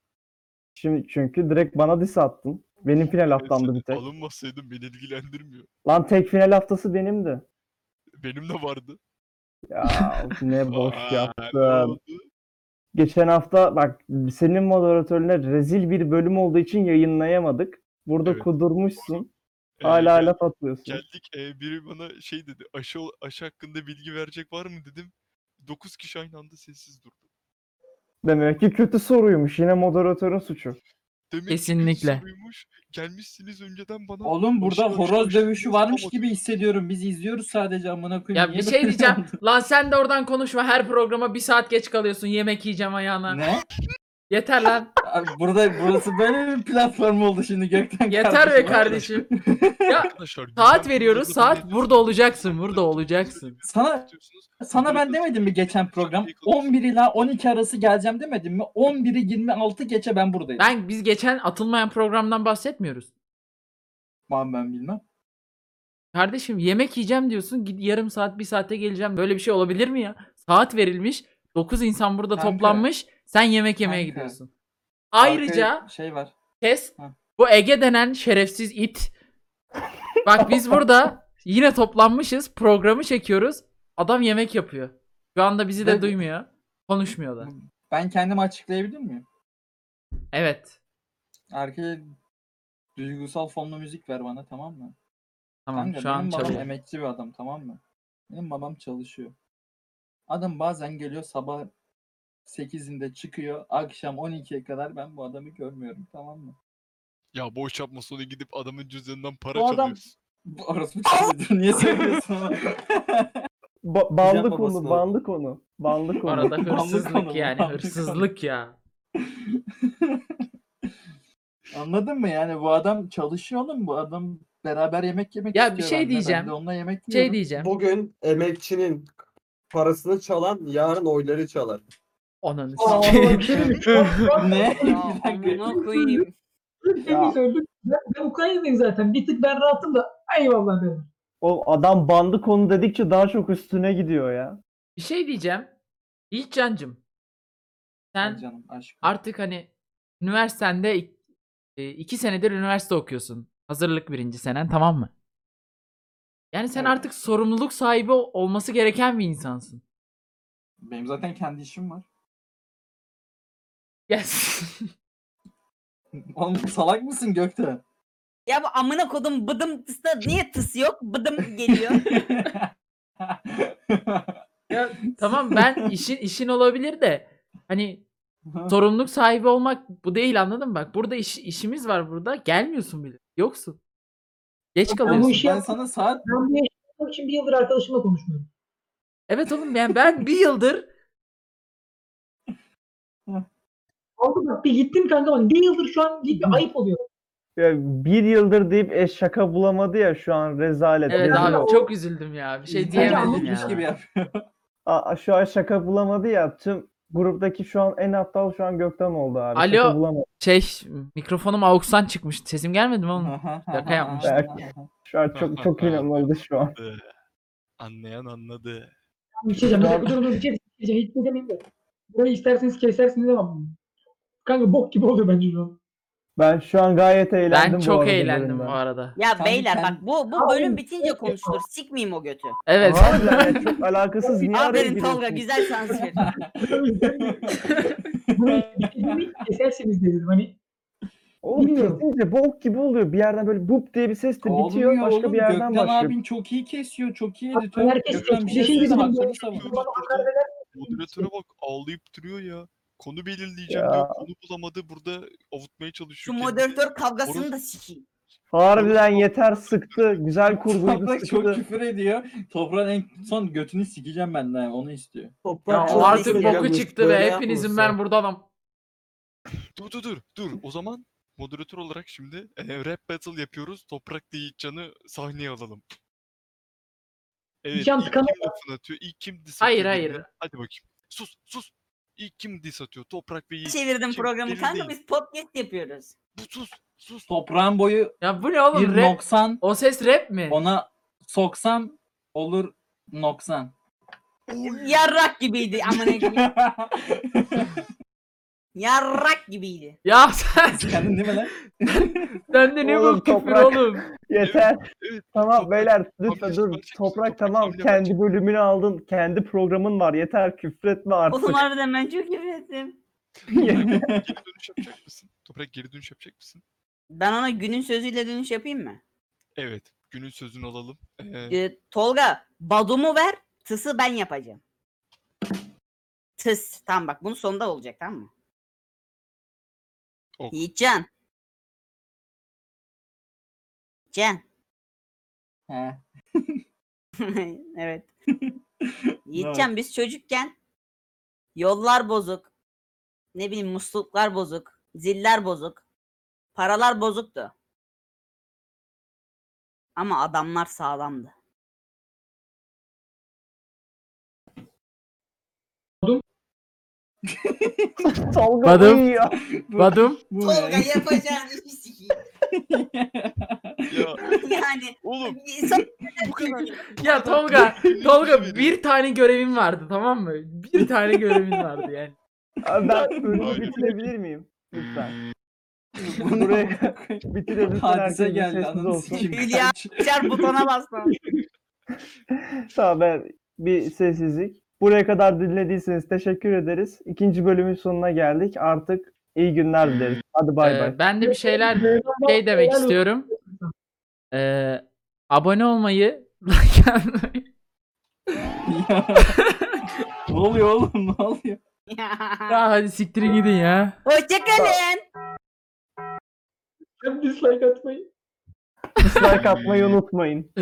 B: Şimdi çünkü direkt bana diss attın. Benim final
F: Ben
B: haftamdı
F: Ee, sen
B: bir tek.
F: Alınmasaydın beni ilgilendirmiyor.
B: Lan tek final haftası benimdi.
F: Benim de vardı.
B: Ya ne boş
F: Aa, ne
B: yaptın.
F: oldu?
B: Geçen hafta bak senin moderatörüne rezil bir bölüm olduğu için yayınlayamadık. Burada
F: Evet.
B: kudurmuşsun.
F: Ee,
B: Hala
F: gel-
B: laf atıyorsun.
F: Geldik e, biri bana şey dedi aşı, ol- aşı hakkında bilgi verecek var mı dedim. 9 kişi aynı anda sessiz durdu.
B: Demek ki kötü soruymuş. Yine moderatörün suçu.
F: Demek
C: Kesinlikle.
F: Ki duymuş, gelmişsiniz önceden bana.
G: Oğlum burada
F: aşı-
G: horoz
F: aşı-
G: dövüşü varmış
F: Ama-
G: gibi hissediyorum. Biz izliyoruz sadece amına koyayım.
C: Ya
G: Niye
C: bir şey
G: böyle
C: diyeceğim. *laughs*
G: oldu?
C: Lan sen de oradan konuşma. Her programa bir saat geç kalıyorsun. Yemek yiyeceğim ayağına.
G: Ne?
C: Yeter
G: *laughs*
C: lan.
G: Abi burada burası böyle bir platform oldu şimdi gökten.
C: Yeter be
G: kardeşim.
C: kardeşim.
G: *laughs*
C: ya
F: Arkadaşlar, güzel
C: saat
F: bir
C: veriyoruz.
F: yolda
C: Saat
F: beni-
C: burada olacaksın. Burada olacaksın.
G: Sana- Sana ben demedim mi geçen program 11 ila 12 arası geleceğim demedim mi? 11'i 26 geçe ben buradayım.
C: Ben biz geçen atılmayan programdan bahsetmiyoruz.
G: Ben, ben bilmem.
C: Kardeşim yemek yiyeceğim diyorsun. Git yarım saat bir saate geleceğim. Böyle bir şey olabilir mi ya? Saat verilmiş. 9 insan burada
G: Kanka.
C: toplanmış. Sen yemek yemeye
G: Kanka.
C: gidiyorsun. Ayrıca
G: Arkaya şey var.
C: Kes.
G: Ha.
C: Bu Ege denen şerefsiz it. Bak biz burada yine toplanmışız. Programı çekiyoruz. Adam yemek yapıyor. Şu anda bizi de
G: Ve-
C: duymuyor. Konuşmuyor da.
G: Ben kendimi açıklayabilir miyim?
C: Evet.
G: Arkaya duygusal fonlu müzik ver bana tamam mı?
C: Tamam
G: Kanka,
C: şu an
G: benim babam
C: çalıyor.
G: emekçi bir adam tamam mı? Benim babam çalışıyor. Adam bazen geliyor sabah 8'inde çıkıyor. Akşam 12'ye kadar ben bu adamı görmüyorum tamam mı?
F: Ya boş yapma sonra gidip adamın cüzdanından para
G: Bu adam-
F: çalıyorsun.
G: Bu
C: *laughs*
G: orası bir Niye söylüyorsun ona?
B: Ba- bandı
G: babası
B: konu,
G: oldu.
B: bandı konu.
F: *laughs*
B: Bandı
C: Bu
B: konu.
C: arada
G: Bandı
C: hırsızlık
G: konu,
C: yani
G: bandı
C: hırsızlık ya.
G: Anladın mı yani bu adam çalışıyor oğlum bu adam beraber yemek yemek
C: Ya bir
G: istiyor
C: şey
G: benden, ben de
C: diyeceğim.
G: onunla yemek
C: Şey
G: yiyorum.
C: diyeceğim.
D: Bugün emekçinin
I: parasını çalan yarın oyları çalar.
C: Ananı
E: Aa,
C: sikeyim. *laughs*
E: bir şey diyeyim mi? Şu an- şu an-
G: Ne?
A: Ya
G: Bir dakika.
A: amına koyayım.
E: Bir şey söyleyeyim. Ben, ben Ukrayna'dayım zaten. Bir tık ben rahatım da. Eyvallah benim.
B: O adam bandı konu dedikçe daha çok üstüne gidiyor ya.
C: Bir şey diyeceğim. İlkcan'cım.
G: Ay
C: Sen
G: canım aşkım.
C: artık hani üniversitende ik- e, iki senedir üniversite okuyorsun. Hazırlık birinci senen tamam mı? Yani sen
G: Evet.
C: artık sorumluluk sahibi ol- olması gereken bir insansın.
G: Benim zaten kendi işim var. *laughs*
C: Yes.
G: Oğlum salak mısın *laughs* Gökte?
A: Ya bu amına kodum bıdım tısta niye tıs yok? Bıdım geliyor.
C: Ya, tamam ben işin işin olabilir de hani sorumluluk sahibi olmak bu değil anladın mı? Bak burada iş, işimiz var burada. Gelmiyorsun bile. Yoksun. Geç
E: Ben bu
C: kalıyorsun.
E: işi
G: ben
E: yap-
G: sana saat
E: Ben bu yaşamak için bir yıldır arkadaşımla konuşmuyorum.
C: Evet oğlum yani ben bir yıldır
E: Oldu bak bir gittim kanka bak bir yıldır şu an git bir ayıp oluyor.
B: Ya bir yıldır deyip e, şaka bulamadı ya şu an rezalet.
C: *laughs* evet
B: rezil
C: abi
B: oldu.
C: çok üzüldüm ya. Bir şey
G: İnsan
C: diyemedim
G: yanlışmış gibi
C: ya.
G: yapıyor.
B: Aa, şu an şaka bulamadı ya tüm gruptaki şu an en aptal şu an Gökten oldu abi.
C: Alo.
B: Şaka bulamadı.
C: Şey mikrofonum AUX'tan çıkmış. Sesim gelmedi mi oğlum?
G: Aha,
C: Şaka
G: aha,
C: yapmıştım.
G: aha.
B: Şu an
F: *laughs*
B: çok çok inanıldı şu an.
F: Ee, Anlayan anladı.
E: Bir şey diyeceğim. Bir dakika dur dur bir şey diyeceğim. Hiç şey demeyeyim de. Burayı isterseniz kesersiniz ama. Kanka bok gibi oluyor bence şu an.
B: Ben şu an gayet eğlendim
C: Ben
B: bu
C: çok
B: arada
C: eğlendim bu
B: bölümden.
C: arada.
A: Ya
G: Sen-
A: beyler
G: sen-
A: bak bu bu
E: Aa,
A: bölüm
E: oğlum,
A: bitince konuşulur. Sikmeyeyim o götü.
C: Evet.
B: Harbiden ya, çok
C: *laughs*
B: alakasız niye araya
A: Aferin Tolga
B: giriyorsun?
A: güzel sansür.
E: Burayı bir şey demeyeyim kesersiniz dedim hani.
B: Oğlum
E: Bilmiyorum.
B: kesince bok gibi oluyor. Bir yerden böyle bup diye bir ses de bitiyor.
G: Olmuyor
B: başka
G: oğlum,
B: bir yerden
G: Gökten
B: başlıyor.
G: abin çok iyi kesiyor, çok iyi
E: Bak,
G: editör.
E: herkes
G: Gökten bir şey
E: şey
G: söylesene,
E: dedi,
G: bak,
E: ben-
G: seni savun.
E: Bana hakaret eder.
F: Moderatöre bak ağlayıp duruyor ya. Konu belirleyeceğim
B: Ya.
F: diyor. Konu bulamadı. Burada avutmaya
A: Şu
F: çalışıyor. kendini.
A: moderatör kavgasını da sikeyim.
B: Harbiden yeter sıktı. Güzel kurguydu
G: Toprak çok
B: sıktı.
G: küfür ediyor. Toprağın en son götünü sikeceğim ben de onu istiyor.
A: Ya
I: Toprak çok
C: artık
I: güzel
C: boku
I: yapmış,
C: çıktı
I: böyle
C: ve hepinizin
I: yapmışsın.
C: ben buradan
F: Dur dur dur. Dur. O zaman moderatör olarak şimdi e, rap battle yapıyoruz. Toprak da Yiğitcan'ı sahneye alalım. Evet.
E: Yiğitcan
F: ilk kim
E: tıkanıyor.
F: lafını atıyor? İlk kim diss
C: Hayır,
F: atıyor
C: hayır.
F: birine? Hadi bakayım. Sus sus. İlk kim diss atıyor? Toprak ve Yiğit.
A: Çevirdim
F: Kim?
A: programı.
F: Belli
A: Kanka
F: değil.
A: biz podcast yapıyoruz.
F: Bu sus sus.
G: Toprağın boyu
C: Ya bu ne oğlum
G: bir
C: rap?
G: noksan
C: O ses rap mi?
G: ona soksam olur noksan. *laughs*
A: Yarrak gibiydi amına koyayım. Yarrak gibiydi.
C: Ya sen
G: Kendin değil mi lan?
C: sen de ne
B: Oğlum,
C: bu küfür
B: toprak.
C: oğlum?
B: Yeter.
F: Evet.
B: Tamam
F: Toprak-
B: beyler lütfen
F: Hamle
B: dur.
F: yapacak,
B: Toprak
F: toprak
B: tamam
F: hamle
B: kendi bölümünü aldın. Kendi programın var. Yeter küfretme artık.
A: Oğlum harbiden ben çok ürettim.
F: Geri dönüş yapacak mısın? Toprak geri dönüş yapacak mısın?
A: Ben ona günün sözüyle dönüş yapayım mı?
F: Evet. Günün sözünü alalım. Ee,
A: Ee, Tolga badumu ver. Tısı ben yapacağım. Tıs. Tamam bak bunun sonunda olacak tamam mı?
F: Ok.
A: Yiğitcan. Can.
G: He.
A: *laughs* evet. *laughs* Yiğitcan biz çocukken yollar bozuk. Ne bileyim musluklar bozuk. Ziller bozuk. Paralar bozuktu. Ama adamlar sağlamdı.
B: Tolga
C: Badum.
B: uyuyor.
G: Bu-
C: Badum.
G: bu ne?
A: *laughs* Tolga
G: *laughs*
A: yapacağın işi sikeyim.
F: ya
A: Yani
F: oğlum
A: insan
F: *laughs* bu kadar.
C: Ya Tolga, Tolga
F: Benim.
C: bir tane görevim vardı tamam mı? Bir tane görevim vardı yani.
B: Abi
G: *laughs*
B: Ben bölümü
F: Aynen.
B: bitirebilir miyim? Lütfen.
G: Bu ne?
B: Buraya- Bitirebilirsin.
G: Hadise
B: herkes bir
G: geldi
B: sessiz
G: ananı
B: olsun.
G: sikeyim.
A: Hülya Çar butona bastı.
B: Tamam ben bir sessizlik. Buraya kadar dinlediyseniz teşekkür ederiz. İkinci bölümün sonuna geldik. Artık iyi günler dileriz. Hadi bay
C: Ee,
B: bay.
C: ben de bir şeyler şey demek istiyorum. Ee, abone olmayı, *laughs* like atmayı-
G: Ya. *laughs* ne oluyor oğlum ne oluyor?
C: Ya hadi siktirin gidin ya.
A: Hoşçakalın.
E: Ben dislike atmayı.
B: Dislike atmayı unutmayın.